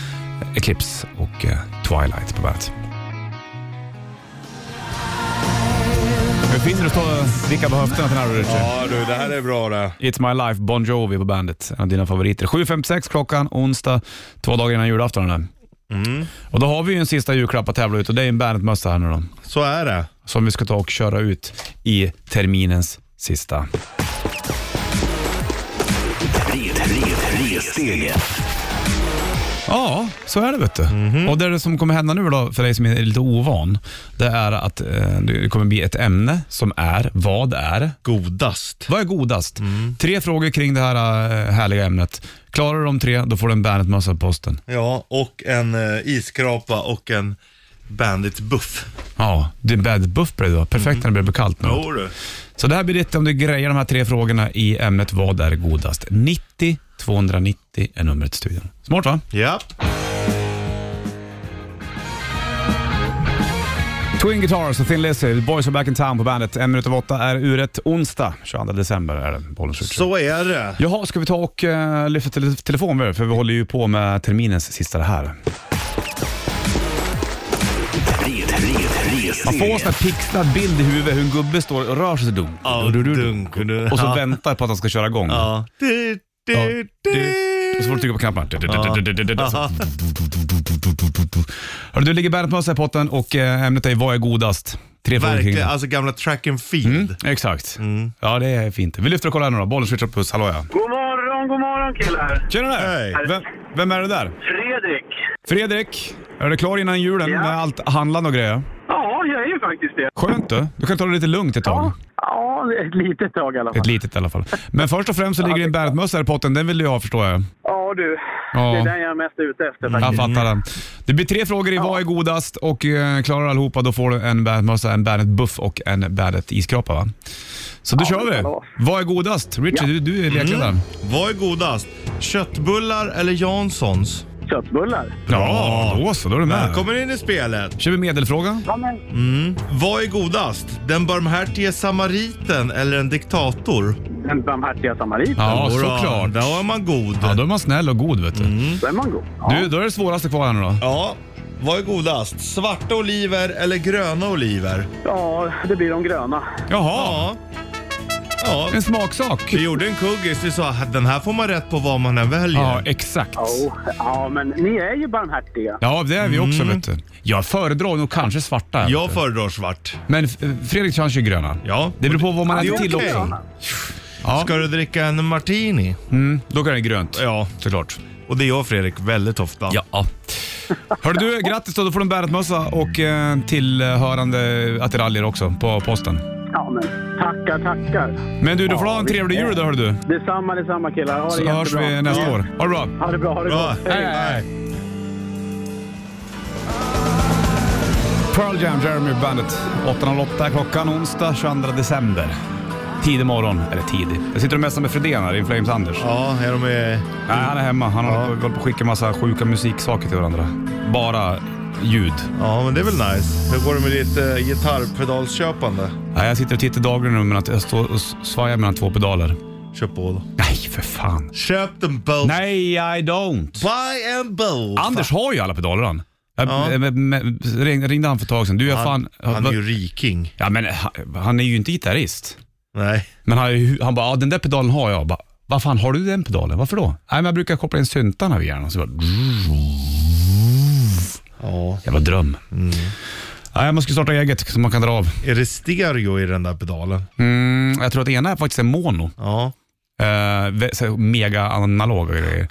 Speaker 2: Eclipse och eh, Twilight på bandet. det finns det att stå och vicka på höfterna till den här Richard.
Speaker 3: Ja du, det här är bra det.
Speaker 2: It's My Life, Bon Jovi på bandet. En av dina favoriter. 7.56 klockan, onsdag, två dagar innan julafton. Mm. Och då har vi ju en sista julklapp att tävla ut och det är en Bandet-mössa här nu då.
Speaker 3: Så är det.
Speaker 2: Som vi ska ta och köra ut i terminens sista.
Speaker 1: Red, red, ressteget.
Speaker 2: Ja, så är det vet du. Och det, är det som kommer hända nu då, för dig som är lite ovan, det är att eh, det kommer bli ett ämne som är, vad är?
Speaker 3: Godast.
Speaker 2: Vad är godast? Tre frågor kring det här eh, härliga ämnet. Klarar du de tre, då får du en Bandet-mössa på posten.
Speaker 3: Ja, och en eh, iskrapa och en Bandit buff.
Speaker 2: Ja, det är bad buff blev det då. Perfekt när det börjar bli kallt nu.
Speaker 3: Jo du.
Speaker 2: Så det här blir ditt om du grejer de här tre frågorna i ämnet Vad är godast? 90 290 är numret till studion. Smart va?
Speaker 3: Ja.
Speaker 2: Twin Guitars och Thin Lizzy, The Boys Are Back In Town på bandet. En minut över åtta är uret. Onsdag 22 december är det. Bollen
Speaker 3: Så är det.
Speaker 2: Jaha, ska vi ta och uh, lyfta tele telefonen? För vi håller ju på med terminens sista det här.
Speaker 1: Red, red,
Speaker 2: Man får en sån
Speaker 1: ressteget.
Speaker 2: här pixlad bild i huvudet hur en gubbe står och rör sig dumt.
Speaker 3: Ja, dunk.
Speaker 2: Och så
Speaker 3: Ja.
Speaker 2: väntar på att han ska köra igång.
Speaker 3: Ja. Du, du,
Speaker 2: Ja,
Speaker 3: du.
Speaker 2: Och så får du trycka på knappen. Hörru, du ligger bäret med oss här i potten och eh, ämnet är vad är godast? Tre frågor kring
Speaker 3: Verkligen, Mm.
Speaker 2: det.
Speaker 3: alltså gamla track
Speaker 2: Mm.
Speaker 3: and field.
Speaker 2: Exakt. Ja, det är fint. Vi lyfter och kollar här nu då. Bollen switchar puss. Hallå ja.
Speaker 5: God morgon, god morgon killar.
Speaker 2: Tjena
Speaker 3: Hej.
Speaker 2: där! Vem, vem är det där?
Speaker 5: Fredrik.
Speaker 2: Fredrik, är du klar innan julen
Speaker 5: Ja.
Speaker 2: med allt handlande och grejer?
Speaker 5: Ja, jag är ju faktiskt det.
Speaker 2: Skönt du. Du kan ta det lite lugnt ett tag.
Speaker 5: Ja, ett litet tag i alla fall.
Speaker 2: Ett litet i alla fall. Men först och främst så ligger din Berntmössa här i potten. Den vill du ha förstår jag.
Speaker 5: Ja du,
Speaker 2: Ja.
Speaker 5: det är den jag är mest ute efter faktiskt.
Speaker 3: Mm.
Speaker 2: Jag fattar den. Det blir tre frågor i vad är godast och eh, klarar du allihopa då får du en Bandet-mössa, en Bandet-buff och en Bandet-iskrapa va? Så då kör vi.
Speaker 5: kalas.
Speaker 2: Vad är godast? Richard, du, du är lekledaren.
Speaker 3: Mm. Vad är godast? Köttbullar eller Janssons?
Speaker 2: Mm.
Speaker 5: Köttbullar.
Speaker 2: Ja, då så. Då är du med.
Speaker 3: Välkommen in i spelet. Mm.
Speaker 2: kör vi medelfrågan.
Speaker 5: Ja, men...
Speaker 3: Vad är godast? Den barmhärtige samariten eller en diktator?
Speaker 5: Den barmhärtiga samariten,
Speaker 2: Ja,
Speaker 3: Jodå,
Speaker 2: såklart.
Speaker 3: Då är man god.
Speaker 2: Ja,
Speaker 3: Ja,
Speaker 2: då är man snäll och god vet du.
Speaker 3: Mm.
Speaker 5: då är man god. Ja.
Speaker 2: Du, då är det svåraste kvar här nu då.
Speaker 3: Vad är godast? Svarta oliver eller gröna oliver?
Speaker 5: ja, det blir de gröna.
Speaker 2: Jaha,
Speaker 3: Ja. Ja.
Speaker 2: en smaksak.
Speaker 3: Vi gjorde en kuggis. Vi sa att den här får man rätt på vad man än väljer.
Speaker 2: Ja, exakt.
Speaker 5: Jo, ja, men ni är ju barmhärtiga.
Speaker 2: Ja, det är vi
Speaker 3: Mm.
Speaker 2: också vet du. Jag föredrar nog kanske svarta. vet
Speaker 3: Jag
Speaker 2: du.
Speaker 3: föredrar svart.
Speaker 2: Men eh, Fredrik kanske är gröna.
Speaker 3: Ja.
Speaker 2: Det beror på vad man
Speaker 3: Det är
Speaker 2: äter till
Speaker 3: okej.
Speaker 2: också.
Speaker 3: Ska du dricka en martini?
Speaker 2: Då kan det grönt.
Speaker 3: Ja.
Speaker 2: Såklart.
Speaker 3: Och det gör Fredrik väldigt ofta.
Speaker 2: Ja. Hörru du, grattis då. Då får du en Bandet-mössa och eh, tillhörande attiraljer också på posten.
Speaker 5: Ja, men tackar, tackar.
Speaker 2: Men du, du får ha en
Speaker 5: vi-
Speaker 2: trevlig jul då hörru du.
Speaker 5: Detsamma, detsamma killar. Ha det
Speaker 2: Så hörs
Speaker 5: jättebra.
Speaker 2: vi nästa
Speaker 5: Ja.
Speaker 2: år. Ha det bra.
Speaker 5: Ha det bra, ha det
Speaker 3: Bra.
Speaker 5: bra.
Speaker 2: Hej, hej. Pearl Jam, Jeremy Bandet. 8.08 är klockan onsdag 22 december. Tidig morgon, eller tidig. Jag sitter och messar med Fredén här, In Flames-Anders.
Speaker 3: Ja, här de är...
Speaker 2: Nej, han är hemma. Han har hållit på att skicka massa sjuka musiksaker till varandra. Bara ljud.
Speaker 3: Ja, men det är väl nice. Hur går det med ditt eh, gitarrpedalsköpande?
Speaker 2: Nej, jag sitter och tittar dagligen nu, men att jag står och svajar mellan två pedaler.
Speaker 3: Köp båda.
Speaker 2: Nej, för fan.
Speaker 3: Köp den båda.
Speaker 2: Nej, I don't.
Speaker 3: Buy and build.
Speaker 2: Anders har ju alla pedaler han. Jag,
Speaker 3: Ja.
Speaker 2: eh, men- men- ring- ringde han för ett tag sedan. Du, jag fan...
Speaker 3: han, han är ju riking.
Speaker 2: Ja, men han, han är ju inte gitarrist.
Speaker 3: Nej.
Speaker 2: Men han, är ju- han bara, ja, den där pedalen har jag. jag. Bara, Vad fan, har du den pedalen? Varför då? Nej, men jag brukar koppla in syntarna via den. Och så bara,
Speaker 3: Ja.
Speaker 2: jävla dröm. Nej, man ska starta eget som man kan dra av.
Speaker 3: Är det stereo i den där pedalen?
Speaker 2: Mm, jag tror att det ena är faktiskt är mono.
Speaker 3: Ja.
Speaker 2: Eh, vä- så här mega analoga grejer.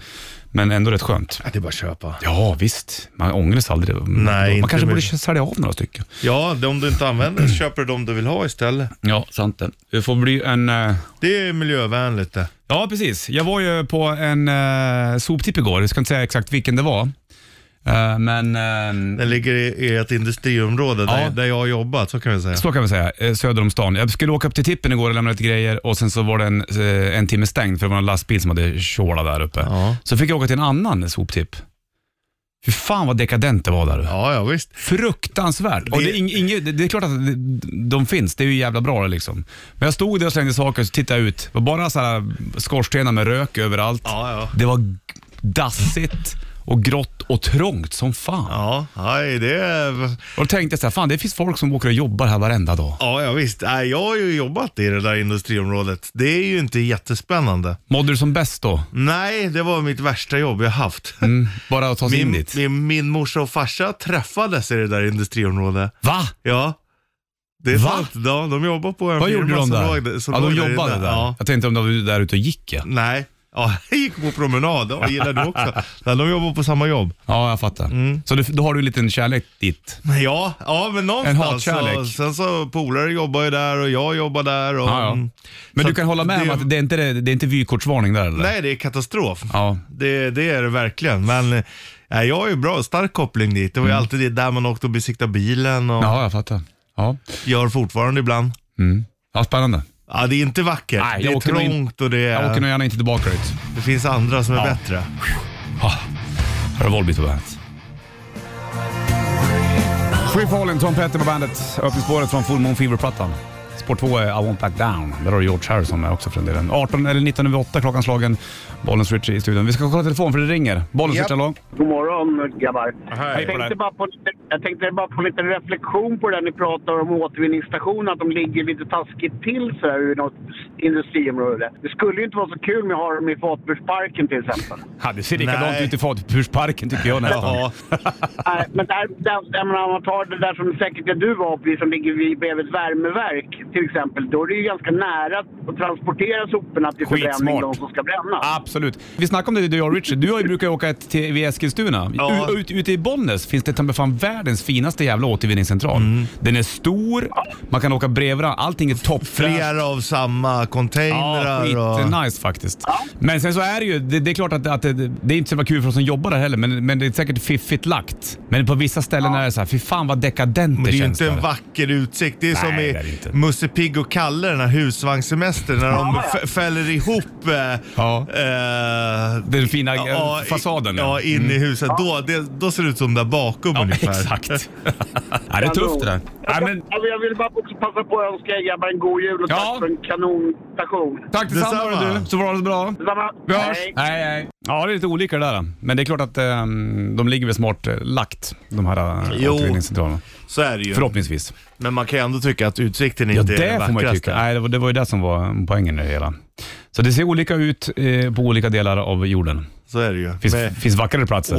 Speaker 2: Men ändå rätt skönt.
Speaker 3: Det är bara att köpa.
Speaker 2: Ja, visst. Man ångrar sig aldrig. Man,
Speaker 3: Nej,
Speaker 2: man
Speaker 3: inte
Speaker 2: kanske borde
Speaker 3: mycket.
Speaker 2: sälja av några stycken.
Speaker 3: Ja, det- om du inte använder så köper du de du vill ha istället.
Speaker 2: Ja, sant det. Det får bli en... eh,
Speaker 3: Det är miljövänligt det.
Speaker 2: Ja, precis. Jag var ju på en uh, soptipp igår. Jag ska inte säga exakt vilken det var. Eh, men eh,
Speaker 3: Den ligger i, i ett industriområde där,
Speaker 2: Ja.
Speaker 3: där jag har jobbat, så kan vi säga.
Speaker 2: så kan vi säga. eh, Söder om stan. Jag skulle åka upp till tippen igår och lämna lite grejer och sen så var den eh, en timme stängd för det var en lastbil som hade tjålat där uppe.
Speaker 3: Ja.
Speaker 2: Så fick jag åka till en annan soptipp. Fy fan vad dekadent det var där.
Speaker 3: Ja, ja visst.
Speaker 2: Fruktansvärt. Det... Och det, är ing, inget- det, det är klart att det- de finns, det är ju jävla bra det liksom. Men jag stod där och slängde saker och så tittade jag ut. Det var bara så här skorstenar med rök överallt.
Speaker 3: Ja, ja.
Speaker 2: Det var dassigt och grått och trångt som fan.
Speaker 3: Ja, nej, det är...
Speaker 2: Och då tänkte jag så här, fan det finns folk som åker och jobbar här varenda dag.
Speaker 3: Ja, ja visst. Nej, jag har ju jobbat i det där industriområdet. Det är ju inte jättespännande.
Speaker 2: Mådde du som bäst då?
Speaker 3: Nej, det var mitt värsta jobb jag haft.
Speaker 2: Mm, bara att ta sig in
Speaker 3: Min,
Speaker 2: dit?
Speaker 3: min, min morsa och farsa träffades i det där industriområdet.
Speaker 2: Va?
Speaker 3: Ja. Det är
Speaker 2: Va?
Speaker 3: sant. Ja, de jobbar på en
Speaker 2: Vad
Speaker 3: firma
Speaker 2: gjorde de
Speaker 3: som
Speaker 2: där?
Speaker 3: låg som
Speaker 2: ja, de
Speaker 3: låg
Speaker 2: jobbade
Speaker 3: inne.
Speaker 2: där.
Speaker 3: Ja.
Speaker 2: Jag tänkte om de var där ute och gick ja.
Speaker 3: Nej. Ja, jag gick på promenad. Ja, gillar du också? Nej, de jobbar på samma jobb.
Speaker 2: Ja, jag fattar.
Speaker 3: Mm.
Speaker 2: Så du, då har du en liten kärlek dit?
Speaker 3: Men Ja, ja men någonstans.
Speaker 2: En hatkärlek.
Speaker 3: så, sen så polare jobbar ju där och jag jobbar där. Och,
Speaker 2: Ja, ja.
Speaker 3: mm.
Speaker 2: Men
Speaker 3: Så
Speaker 2: du kan hålla med
Speaker 3: det-
Speaker 2: om att det är inte det, det är inte vykortsvarning där eller?
Speaker 3: Nej, det är katastrof.
Speaker 2: Ja.
Speaker 3: Det, det är det verkligen. Men eh, ja, jag har ju bra, stark koppling dit. Det var ju alltid det där man åkte och besiktade bilen och
Speaker 2: Mm. Ja, jag fattar. Ja,
Speaker 3: gör fortfarande ibland.
Speaker 2: mm. ja spännande.
Speaker 3: Ja, det är inte vackert.
Speaker 2: Nej,
Speaker 3: det
Speaker 2: jag
Speaker 3: är
Speaker 2: åker nog in-
Speaker 3: trångt och det,
Speaker 2: Jag åker
Speaker 3: är,
Speaker 2: nog gärna inte tillbaka dit.
Speaker 3: det finns andra som är
Speaker 2: Ja.
Speaker 3: bättre.
Speaker 2: Ah, här är Volbeat på bandet. Free Falling, Tom Petty på bandet. Öppningsspåret från Full Moon Fever-plattan. Spår två är I Won't Back Down. Där har du George Harrison med också för den delen. 18 eller 19 över 8 klockan slagen. Bollens Richie i studion. Vi ska kolla telefon för det ringer. Bollens
Speaker 3: Japp.
Speaker 2: Richie, hallå?
Speaker 5: God morgon grabbar.
Speaker 2: Hej
Speaker 5: Jag
Speaker 2: på dig.
Speaker 5: tänkte, bara på lite, jag tänkte bara på lite reflektion på det där ni pratar om återvinningsstationer, att de ligger lite taskigt till så här i något industriområde. Det skulle ju inte vara så kul om jag har dem i Fatbursparken till exempel.
Speaker 2: Ja, det ser
Speaker 3: likadant
Speaker 2: likadant
Speaker 3: Nej.
Speaker 2: ut
Speaker 3: ut
Speaker 2: i
Speaker 3: i
Speaker 2: Fatbursparken tycker jag nästan.
Speaker 3: Ja.
Speaker 5: Nej, men där, där, jag menar, om man tar det där som säkert det du var uppe i, som ligger vid- bredvid ett värmeverk till exempel. Då är det ju ganska nära att transportera soporna till förbränning,
Speaker 2: Skitsmart.
Speaker 5: de som ska brännas.
Speaker 2: Absolut. Vi snackade om det du och Richard. Du har ju brukar åka ett till vid Eskilstuna.
Speaker 3: Ja.
Speaker 2: U- ut, ute i Bollnäs finns det ta mig fan världens finaste jävla återvinningscentral.
Speaker 3: Mm.
Speaker 2: Den är stor, man kan åka bredvid varandra. allting är toppfräscht.
Speaker 3: Flera av samma
Speaker 2: Ja,
Speaker 3: containrar och...
Speaker 2: skitnice faktiskt. Men sen så är det ju, det, det är klart att, att det, det är inte så jävla kul för oss som jobbar där heller, men, men det är säkert fiffigt lagt. Men på vissa ställen är det så här, fy fan vad dekadent
Speaker 3: Men
Speaker 2: det
Speaker 3: det är ju
Speaker 2: känns.
Speaker 3: inte en
Speaker 2: där.
Speaker 3: vacker utsikt. Det är
Speaker 2: Nej,
Speaker 3: som
Speaker 2: det är det inte.
Speaker 3: i Musse Pigg och Kalle, den här husvagnssemestern, när de
Speaker 5: Ja, ja.
Speaker 3: f- fäller ihop eh,
Speaker 2: Ja.
Speaker 3: eh,
Speaker 2: Den fina eh,
Speaker 3: ja, i-
Speaker 2: fasaden. Mm.
Speaker 3: Ja, in i huset. Då, det, då ser det ut som där bakom
Speaker 2: Ja,
Speaker 3: ungefär.
Speaker 2: exakt. ja, det är tufft det där. Nej,
Speaker 5: Alltså, Jag,
Speaker 2: men,
Speaker 5: alltså, jag vill bara också passa på att önska er grabbar en god jul och
Speaker 2: Ja.
Speaker 5: tack för en kanonstation.
Speaker 2: Tack detsamma
Speaker 3: Detsamma.
Speaker 2: du, så var det så bra.
Speaker 5: Detsamma.
Speaker 2: Vi hörs. Hej, hej. Ja, det är lite olika det där. Men det är klart att eh, de ligger väl smart eh, lagt, de här eh,
Speaker 3: Jo.
Speaker 2: återvinningscentralerna.
Speaker 3: Så är det ju.
Speaker 2: Förhoppningsvis.
Speaker 3: Men man kan ju ändå tycka att utsikten
Speaker 2: Ja,
Speaker 3: inte
Speaker 2: det,
Speaker 3: är den
Speaker 2: får man ju tycka.
Speaker 3: vackraste.
Speaker 2: Nej, det, var, det var ju det som var poängen i det hela. Så det ser olika ut eh, på olika delar av jorden.
Speaker 3: Så är det ju.
Speaker 2: Finns,
Speaker 3: Med
Speaker 2: finns vackrare platser.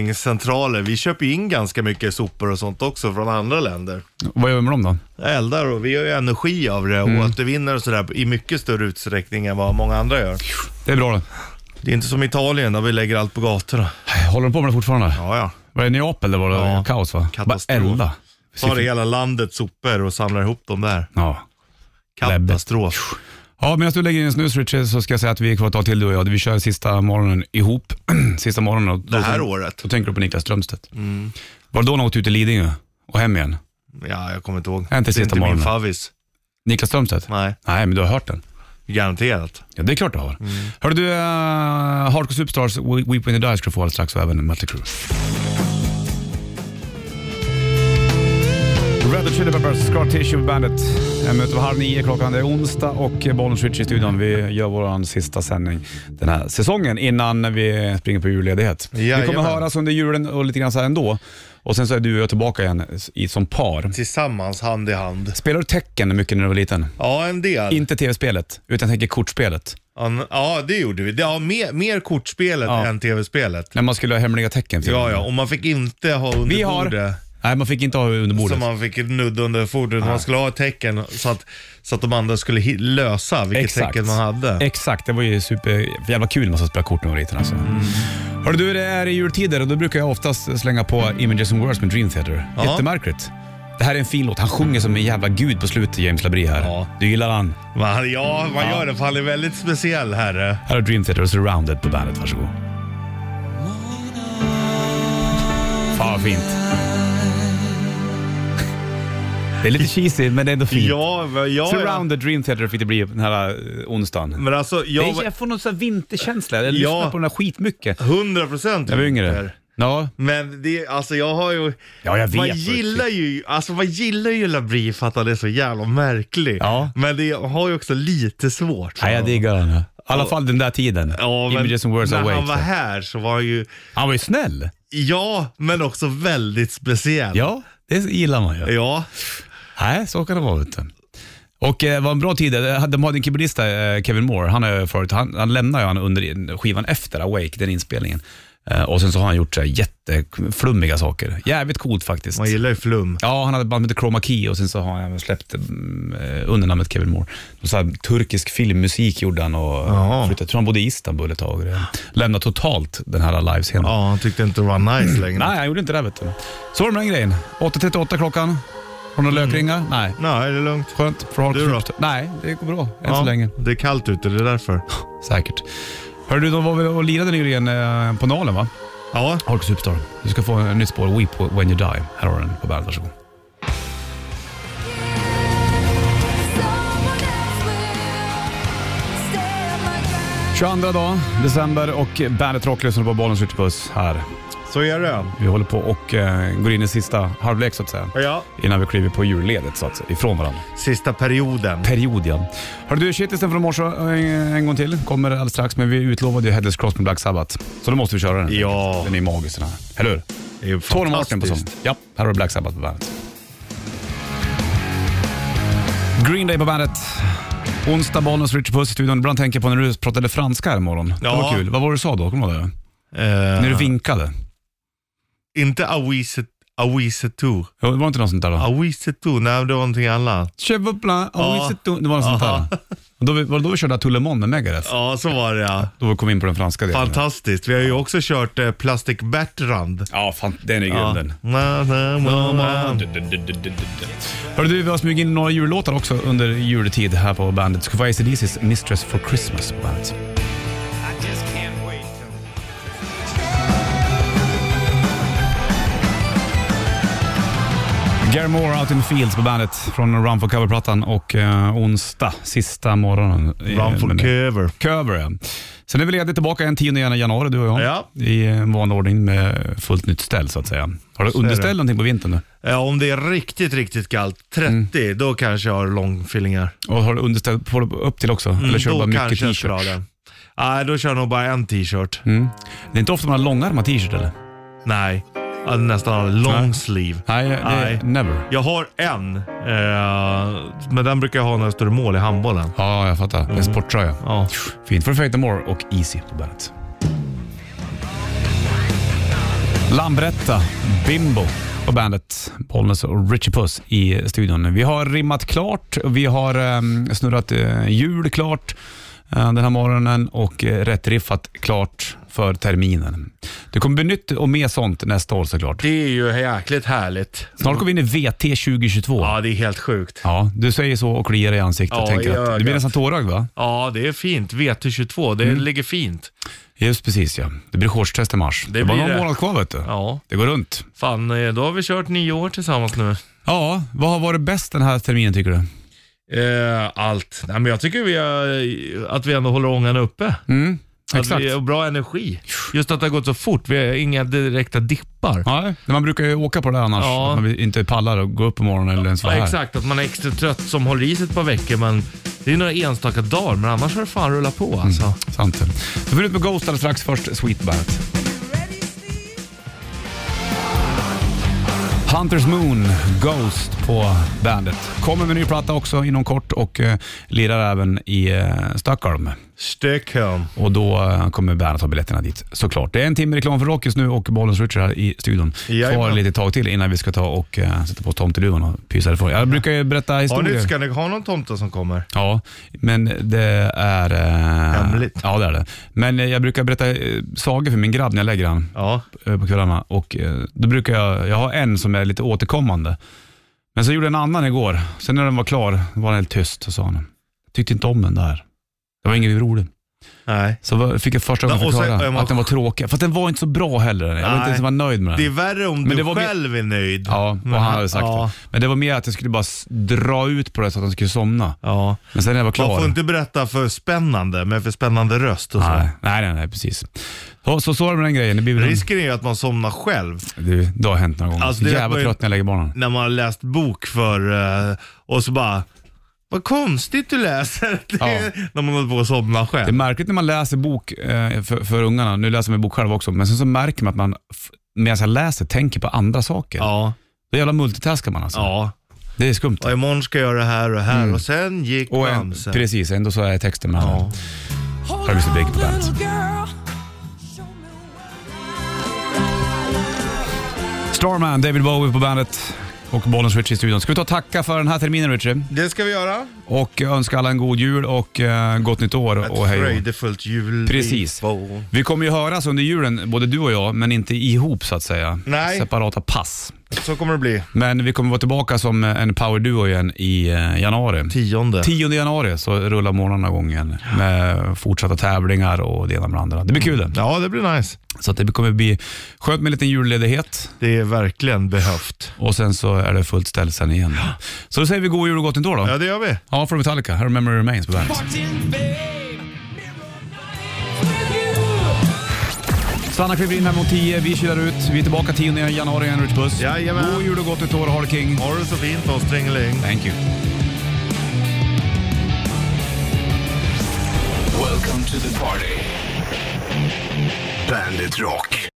Speaker 3: återvinningscentraler. Vi köper ju in ganska mycket sopor och sånt också från andra länder.
Speaker 2: Vad gör vi med dem då?
Speaker 3: Eldar och vi gör ju energi av det och
Speaker 2: Mm.
Speaker 3: återvinner och sådär i mycket större utsträckning än vad många andra gör.
Speaker 2: Det är bra det.
Speaker 3: Det är inte som Italien där vi lägger allt på gatorna.
Speaker 2: Håller de på med det fortfarande?
Speaker 3: Ja, ja.
Speaker 2: Var det Neapel det var
Speaker 3: Ja.
Speaker 2: kaos va?
Speaker 3: Katastrof.
Speaker 2: Bara elda.
Speaker 3: Tar det hela landet sopor och samlar ihop dem där.
Speaker 2: Ja.
Speaker 3: Katastrof.
Speaker 2: Ja, medan du lägger in en snus Richard så ska jag säga att vi är kvar ett tag till du och jag. Vi kör sista morgonen ihop. sista morgonen. och Då,
Speaker 3: Det här
Speaker 2: då,
Speaker 3: året. Mm.
Speaker 2: då tänker du på Niklas Strömstedt. Var det då han åkte ut till Lidingö och hem igen?
Speaker 3: Ja, jag kommer inte ihåg.
Speaker 2: Är inte
Speaker 3: det är
Speaker 2: sista
Speaker 3: inte min
Speaker 2: morgonen.
Speaker 3: favvis.
Speaker 2: Niklas Strömstedt?
Speaker 3: Nej,
Speaker 2: Nej, men du har hört den.
Speaker 3: garanterat.
Speaker 2: Ja, det är klart du har. Hörru du, uh, Hardcore Superstars, We- Weep When You Die ska du få alldeles strax och även Mötley Crüe. Red Hot Chili Peppers, Scar Tissue på bandet. En minut över halv nio klockan. Det är onsdag och Bollen Switch i studion. Vi gör vår sista sändning den här säsongen innan vi springer på julledighet. vi kommer
Speaker 3: Jajamän.
Speaker 2: höras under julen och lite grann så här ändå. Och sen så är du och jag tillbaka igen i, som par.
Speaker 3: Tillsammans, hand i hand.
Speaker 2: Spelar du tecken mycket när du var liten?
Speaker 3: Ja, en del.
Speaker 2: Inte tv-spelet, utan jag tänker kortspelet.
Speaker 3: An- Ja, det gjorde vi. Det- Ja, mer, mer kortspelet
Speaker 2: Ja.
Speaker 3: än tv-spelet.
Speaker 2: När man skulle ha hemliga tecken. till
Speaker 3: Ja,
Speaker 2: exempel.
Speaker 3: ja, och man fick inte ha under
Speaker 2: Vi har...
Speaker 3: bordet.
Speaker 2: Nej, man fick inte ha under
Speaker 3: Så
Speaker 2: bordet. Ah.
Speaker 3: man fick nudda under fodret. Man skulle ha ett tecken så att, så att de andra skulle hi- lösa vilket tecken man hade.
Speaker 2: Exakt, det var ju super, jävla kul när man ska spela kort när man var liten alltså.
Speaker 3: Mm.
Speaker 2: Hörru du, det är jultider och då brukar jag oftast slänga på Images and Words med Dream Theater.
Speaker 3: Ja.
Speaker 2: Jättemärkligt. Det här är en fin låt. Han sjunger som en jävla gud på slutet, James Labrie här.
Speaker 3: Ja.
Speaker 2: Du gillar han.
Speaker 3: Man, ja, man gör det för han är väldigt speciell herre.
Speaker 2: Här har Dream Theater och Surrounded på bandet. Varsågod. Fan vad fint. Det är lite cheesy, men det är ändå fint.
Speaker 3: Ja, men jag...
Speaker 2: Surrounded Dream Theater fick det bli den här eh, onsdagen.
Speaker 3: Men alltså, jag
Speaker 2: det är,
Speaker 3: var
Speaker 2: jag får någon sån här vinterkänsla. Jag
Speaker 3: Ja.
Speaker 2: lyssnar på den här skitmycket.
Speaker 3: 100 procent
Speaker 2: Jag var yngre. Ja,
Speaker 3: Men det, alltså jag har ju...
Speaker 2: ja jag vet.
Speaker 3: Man gillar ju, alltså man gillar ju Labrie för att han är så jävla märklig.
Speaker 2: Ja.
Speaker 3: Men det har ju också lite svårt. för
Speaker 2: Nej, jag
Speaker 3: honom.
Speaker 2: diggar den. här. alla fall den där tiden. Images and words
Speaker 3: när
Speaker 2: awake.
Speaker 3: han var här så var han ju,
Speaker 2: han var ju snäll.
Speaker 3: ja, men också väldigt speciell.
Speaker 2: Ja, det gillar man ju.
Speaker 3: Ja,
Speaker 2: Nej, så kan det vara. Vet du. Och eh, var en bra tid. Eh, De hade en keyboardista, eh, Kevin Moore, han, är förut, han, han lämnade ju han under skivan efter Awake, den inspelningen. Eh, och sen så har han gjort så här jätteflummiga saker. Jävligt coolt faktiskt.
Speaker 3: man gillar ju flum.
Speaker 2: Ja, han hade ett band med Chroma Key och sen så har han även släppt mm, eh, under namnet Kevin Moore. Och Så här, turkisk filmmusik gjorde han och
Speaker 3: Jaha.
Speaker 2: flyttade, jag tror han bodde i Istanbul ett tag. och det- Lämnade totalt den här livescenen.
Speaker 3: Ja, han tyckte inte det var nice längre.
Speaker 2: Nej, han gjorde inte det vet du. Så var det med den grejen. 8.38 klockan. Har du några lökringar? Nej.
Speaker 3: Nej, det är lugnt.
Speaker 2: Skönt. För att ha
Speaker 3: Mm. Du då?
Speaker 2: knäppt- Nej, det går bra än
Speaker 3: Ja,
Speaker 2: så länge.
Speaker 3: Det är kallt ute, det är därför.
Speaker 2: Säkert. Hörru du, de var väl och lirade nyligen eh, på Nalen va?
Speaker 3: Ja,
Speaker 2: Holk Superstar. Du ska få en nytt spår, Weep When You Die. Här har du den på bandet, varsågod.
Speaker 6: Someone
Speaker 2: 22 dag, december och Bandet Rock lyssnar på Bollens Ritchbuss här.
Speaker 3: så är det.
Speaker 2: Vi håller på och eh, går in i sista halvlek så att säga.
Speaker 3: Ja,
Speaker 2: Innan vi kliver på julledigt så att säga, ifrån varandra.
Speaker 3: sista perioden.
Speaker 2: Period ja. Hörru du, shitlisten från morse eh, en gång till. Kommer alldeles strax, men vi utlovade ju Headless Cross med Black Sabbath. Så då måste vi köra den.
Speaker 3: Ja.
Speaker 2: Den är magisk den här. Eller hur?
Speaker 3: Det är ju
Speaker 2: Tony Martin på sång.
Speaker 3: fantastiskt.
Speaker 2: Ja, här har du Black Sabbath på bandet. Green Day på bandet. Onsdag, Bollnäs, Richard Puss i studion. Ibland tänker jag på när du pratade franska här imorgon. Det var
Speaker 3: Ja.
Speaker 2: kul. Vad var det du sa då? Kommer du ihåg det?
Speaker 3: Eh,
Speaker 2: När du vinkade.
Speaker 3: Inte Awise Awisetu.
Speaker 2: Jo, Det var inte något sånt där då?
Speaker 3: Awisetu, nej det var någonting annat.
Speaker 2: Chevopla, oh, is it do- Det var något sånt där.
Speaker 3: Ja.
Speaker 2: Och då, vi- var det då vi körde Tullemon med Megadeth?
Speaker 3: Ja, så var det ja.
Speaker 2: Då vi kom in på den franska delen.
Speaker 3: Fantastiskt. Vi har ju också kört eh, Plastic Bertrand.
Speaker 2: Ja, fan, den är grym
Speaker 3: Ja.
Speaker 2: den.
Speaker 3: Na, na, na, na.
Speaker 2: Hörru du, vi har smugit in några jullåtar också under juletid här på bandet. Ska få ACDC's Mistress for Christmas på bandet. Gary Moore, Out in the Fields på bandet från Run for Cover-plattan och eh, onsdag, sista morgonen.
Speaker 3: Run for
Speaker 2: Men-
Speaker 3: cover.
Speaker 2: Cover. ja. Sen är vi lediga tillbaka den 10 januari du och jag.
Speaker 3: Ja.
Speaker 2: I en vanlig ordning med fullt nytt ställ så att säga. Har du
Speaker 3: är
Speaker 2: underställ
Speaker 3: det.
Speaker 2: någonting på vintern nu?
Speaker 3: Ja, om det är riktigt, riktigt kallt, 30, då kanske jag har långfillingar.
Speaker 2: Och har du underställ på, upp till också? Eller kör du bara
Speaker 3: Mm. då
Speaker 2: mycket
Speaker 3: kanske jag skulle ha
Speaker 2: t-shirt?
Speaker 3: den. Nej, då kör jag nog bara en t-shirt.
Speaker 2: Mm. Det är inte ofta man har långärmad t-shirt eller?
Speaker 3: Nej, jag hade nästan har en long
Speaker 2: Nej.
Speaker 3: sleeve.
Speaker 2: Nej, det
Speaker 3: Nej.
Speaker 2: är never.
Speaker 3: Jag har en, eh, men den brukar jag ha när jag står i mål i handbollen.
Speaker 2: Ja, jag fattar. En sporttröja.
Speaker 3: Mm. Ja.
Speaker 2: Fint för Faith No More och Easy på bandet. Lambretta, Bimbo på bandet. Bollnäs och Richie Puss i studion. Vi har rimmat klart, vi har ehm, snurrat eh, hjul klart eh, den här morgonen och eh, rätt riffat klart för terminen. Det kommer bli nytt och mer sånt nästa år såklart.
Speaker 3: Det är ju jäkligt härligt.
Speaker 2: Snart går vi in i VT 2022.
Speaker 3: Ja, det är helt sjukt.
Speaker 2: Ja, du säger så och kliar i ansiktet.
Speaker 3: Ja,
Speaker 2: och tänker att,
Speaker 3: i
Speaker 2: det blir
Speaker 3: ögat.
Speaker 2: nästan tårögd va?
Speaker 3: Ja, det är fint. VT22, det
Speaker 2: Mm.
Speaker 3: ligger fint.
Speaker 2: Just precis ja. Det blir shortstest i mars. Det,
Speaker 3: Det
Speaker 2: var
Speaker 3: blir
Speaker 2: någon
Speaker 3: det.
Speaker 2: månad kvar vet du.
Speaker 3: Ja,
Speaker 2: Det går runt.
Speaker 3: fan eh, då har vi kört nio år tillsammans nu.
Speaker 2: Ja, vad har varit bäst den här terminen tycker du?
Speaker 3: Eh, allt. Nej, men jag tycker vi har, eh, att vi ändå håller ångan uppe.
Speaker 2: Mm,
Speaker 3: Att
Speaker 2: exakt.
Speaker 3: vi har bra energi. Just att det har gått så fort. Vi har inga direkta dippar.
Speaker 2: Ja, man brukar ju åka på det där annars,
Speaker 3: Ja.
Speaker 2: att man inte pallar och gå upp på morgonen eller ens vara
Speaker 3: Ja,
Speaker 2: här.
Speaker 3: exakt, att man är extra trött som håller i sig ett par veckor men det är några enstaka dagar men annars har det fan rullat på
Speaker 2: Mm.
Speaker 3: alltså.
Speaker 2: Sant. Vi får ut med Ghost alldeles strax, först Sweet Bandet. Hunters Moon, Ghost på bandet. Kommer med ny platta också inom kort och eh, lirar även i eh, Stockholm.
Speaker 3: Stockholm.
Speaker 2: Och då eh, kommer bandet ha biljetterna dit såklart. Det är en timme reklam för Rockets nu och Bollens Richard här i studion.
Speaker 3: Jajamän.
Speaker 2: Kvar lite tag till innan vi ska ta och eh, sätta på tomteluvan och pysa ifrån. Jag brukar ju berätta
Speaker 3: Har
Speaker 2: historier.
Speaker 3: ni, ska ni ha någon tomte som kommer?
Speaker 2: Ja, men det är... eh,
Speaker 3: Hemligt.
Speaker 2: Ja, det är det. Men eh, jag brukar berätta eh, sagor för min grabb när jag lägger han
Speaker 3: Ja.
Speaker 2: eh, på kvällarna. Och eh, då brukar jag, jag har en som är lite återkommande. Men så gjorde jag en annan igår. Sen när den var klar var den helt tyst och sa han, jag tyckte inte om den där. Det var ingen rolig.
Speaker 3: Nej.
Speaker 2: Så var- fick jag första
Speaker 3: Men
Speaker 2: gången
Speaker 3: och sen
Speaker 2: förklara
Speaker 3: är man-
Speaker 2: att den var tråkig. För att den var inte så bra heller. Jag var
Speaker 3: Nej.
Speaker 2: inte ens var nöjd med
Speaker 3: Det är
Speaker 2: den.
Speaker 3: värre om
Speaker 2: det
Speaker 3: du
Speaker 2: var mer-
Speaker 3: själv är nöjd.
Speaker 2: Ja,
Speaker 3: Men
Speaker 2: vad han hade sagt.
Speaker 3: Ja.
Speaker 2: det. Men det var mer att jag skulle bara s- dra ut på det så att han skulle somna.
Speaker 3: ja.
Speaker 2: Men sen när jag var klar.
Speaker 3: Man får inte berätta för spännande med för spännande röst och så.
Speaker 2: Nej, nej, nej, nej precis. Så, så, så är det med den grejen. Det, blir väl
Speaker 3: Risken är ju att man somnar själv
Speaker 2: du, det har hänt några gånger.
Speaker 3: Alltså,
Speaker 2: så
Speaker 3: det är
Speaker 2: jävla
Speaker 3: att man-
Speaker 2: trött när jag lägger barnen.
Speaker 3: när man har läst bok för eh, och så bara Vad konstigt du läser. Det är, När man håller på att somna själv.
Speaker 2: Det är märkligt när man läser bok eh, för, för ungarna. Nu läser man ju bok själv också, men sen så märker man att man f- medan jag läser tänker på andra saker.
Speaker 3: ja.
Speaker 2: Då jävla multitaskar man alltså.
Speaker 3: ja.
Speaker 2: Det är skumt.
Speaker 3: Och imorgon ska jag göra det här och det här och sen gick
Speaker 2: Mm. Och en,
Speaker 3: mamsen.
Speaker 2: precis, ändå så är texten med handen.
Speaker 3: Ja.
Speaker 2: Här blir så big på bandet. Starman, David Bowie på bandet och Bollens Richie i studion. Ska vi ta och tacka för den här terminen Richie?
Speaker 3: Det ska vi göra.
Speaker 2: Och önska alla en god jul och eh, gott nytt år.
Speaker 3: Ett
Speaker 2: Och hej då.
Speaker 3: fröjdefullt jul.
Speaker 2: Precis.
Speaker 3: på.
Speaker 2: Vi kommer ju höras under julen, både du och jag, men inte ihop så att säga.
Speaker 3: Nej.
Speaker 2: Separata pass.
Speaker 3: Så kommer det bli.
Speaker 2: Men vi kommer vara tillbaka som en powerduo igen i eh, januari.
Speaker 3: Tionde.
Speaker 2: 10 januari så rullar morgnarna igång igen med fortsatta tävlingar och det ena med det andra. Det blir kul det.
Speaker 3: Ja, det blir nice.
Speaker 2: Så att det kommer bli skönt med en liten julledighet
Speaker 3: Det är verkligen behövt.
Speaker 2: och sen så är det fullt ställ sen igen. Så då säger vi god jul och gott nytt år då.
Speaker 3: Ja, det gör vi.
Speaker 2: Ja, från Metallica. Här har Memory Remains på bandet. Stanna kliver in här mot 10. Vi kilar ut. Vi är tillbaka 10 januari igen, Rich Buss.
Speaker 3: Jajamän.
Speaker 2: God jul och gott nytt år, ha det king.
Speaker 3: Ha det så fint då, Stringeling.
Speaker 2: Thank you.
Speaker 1: Welcome to the party. Bandit Rock.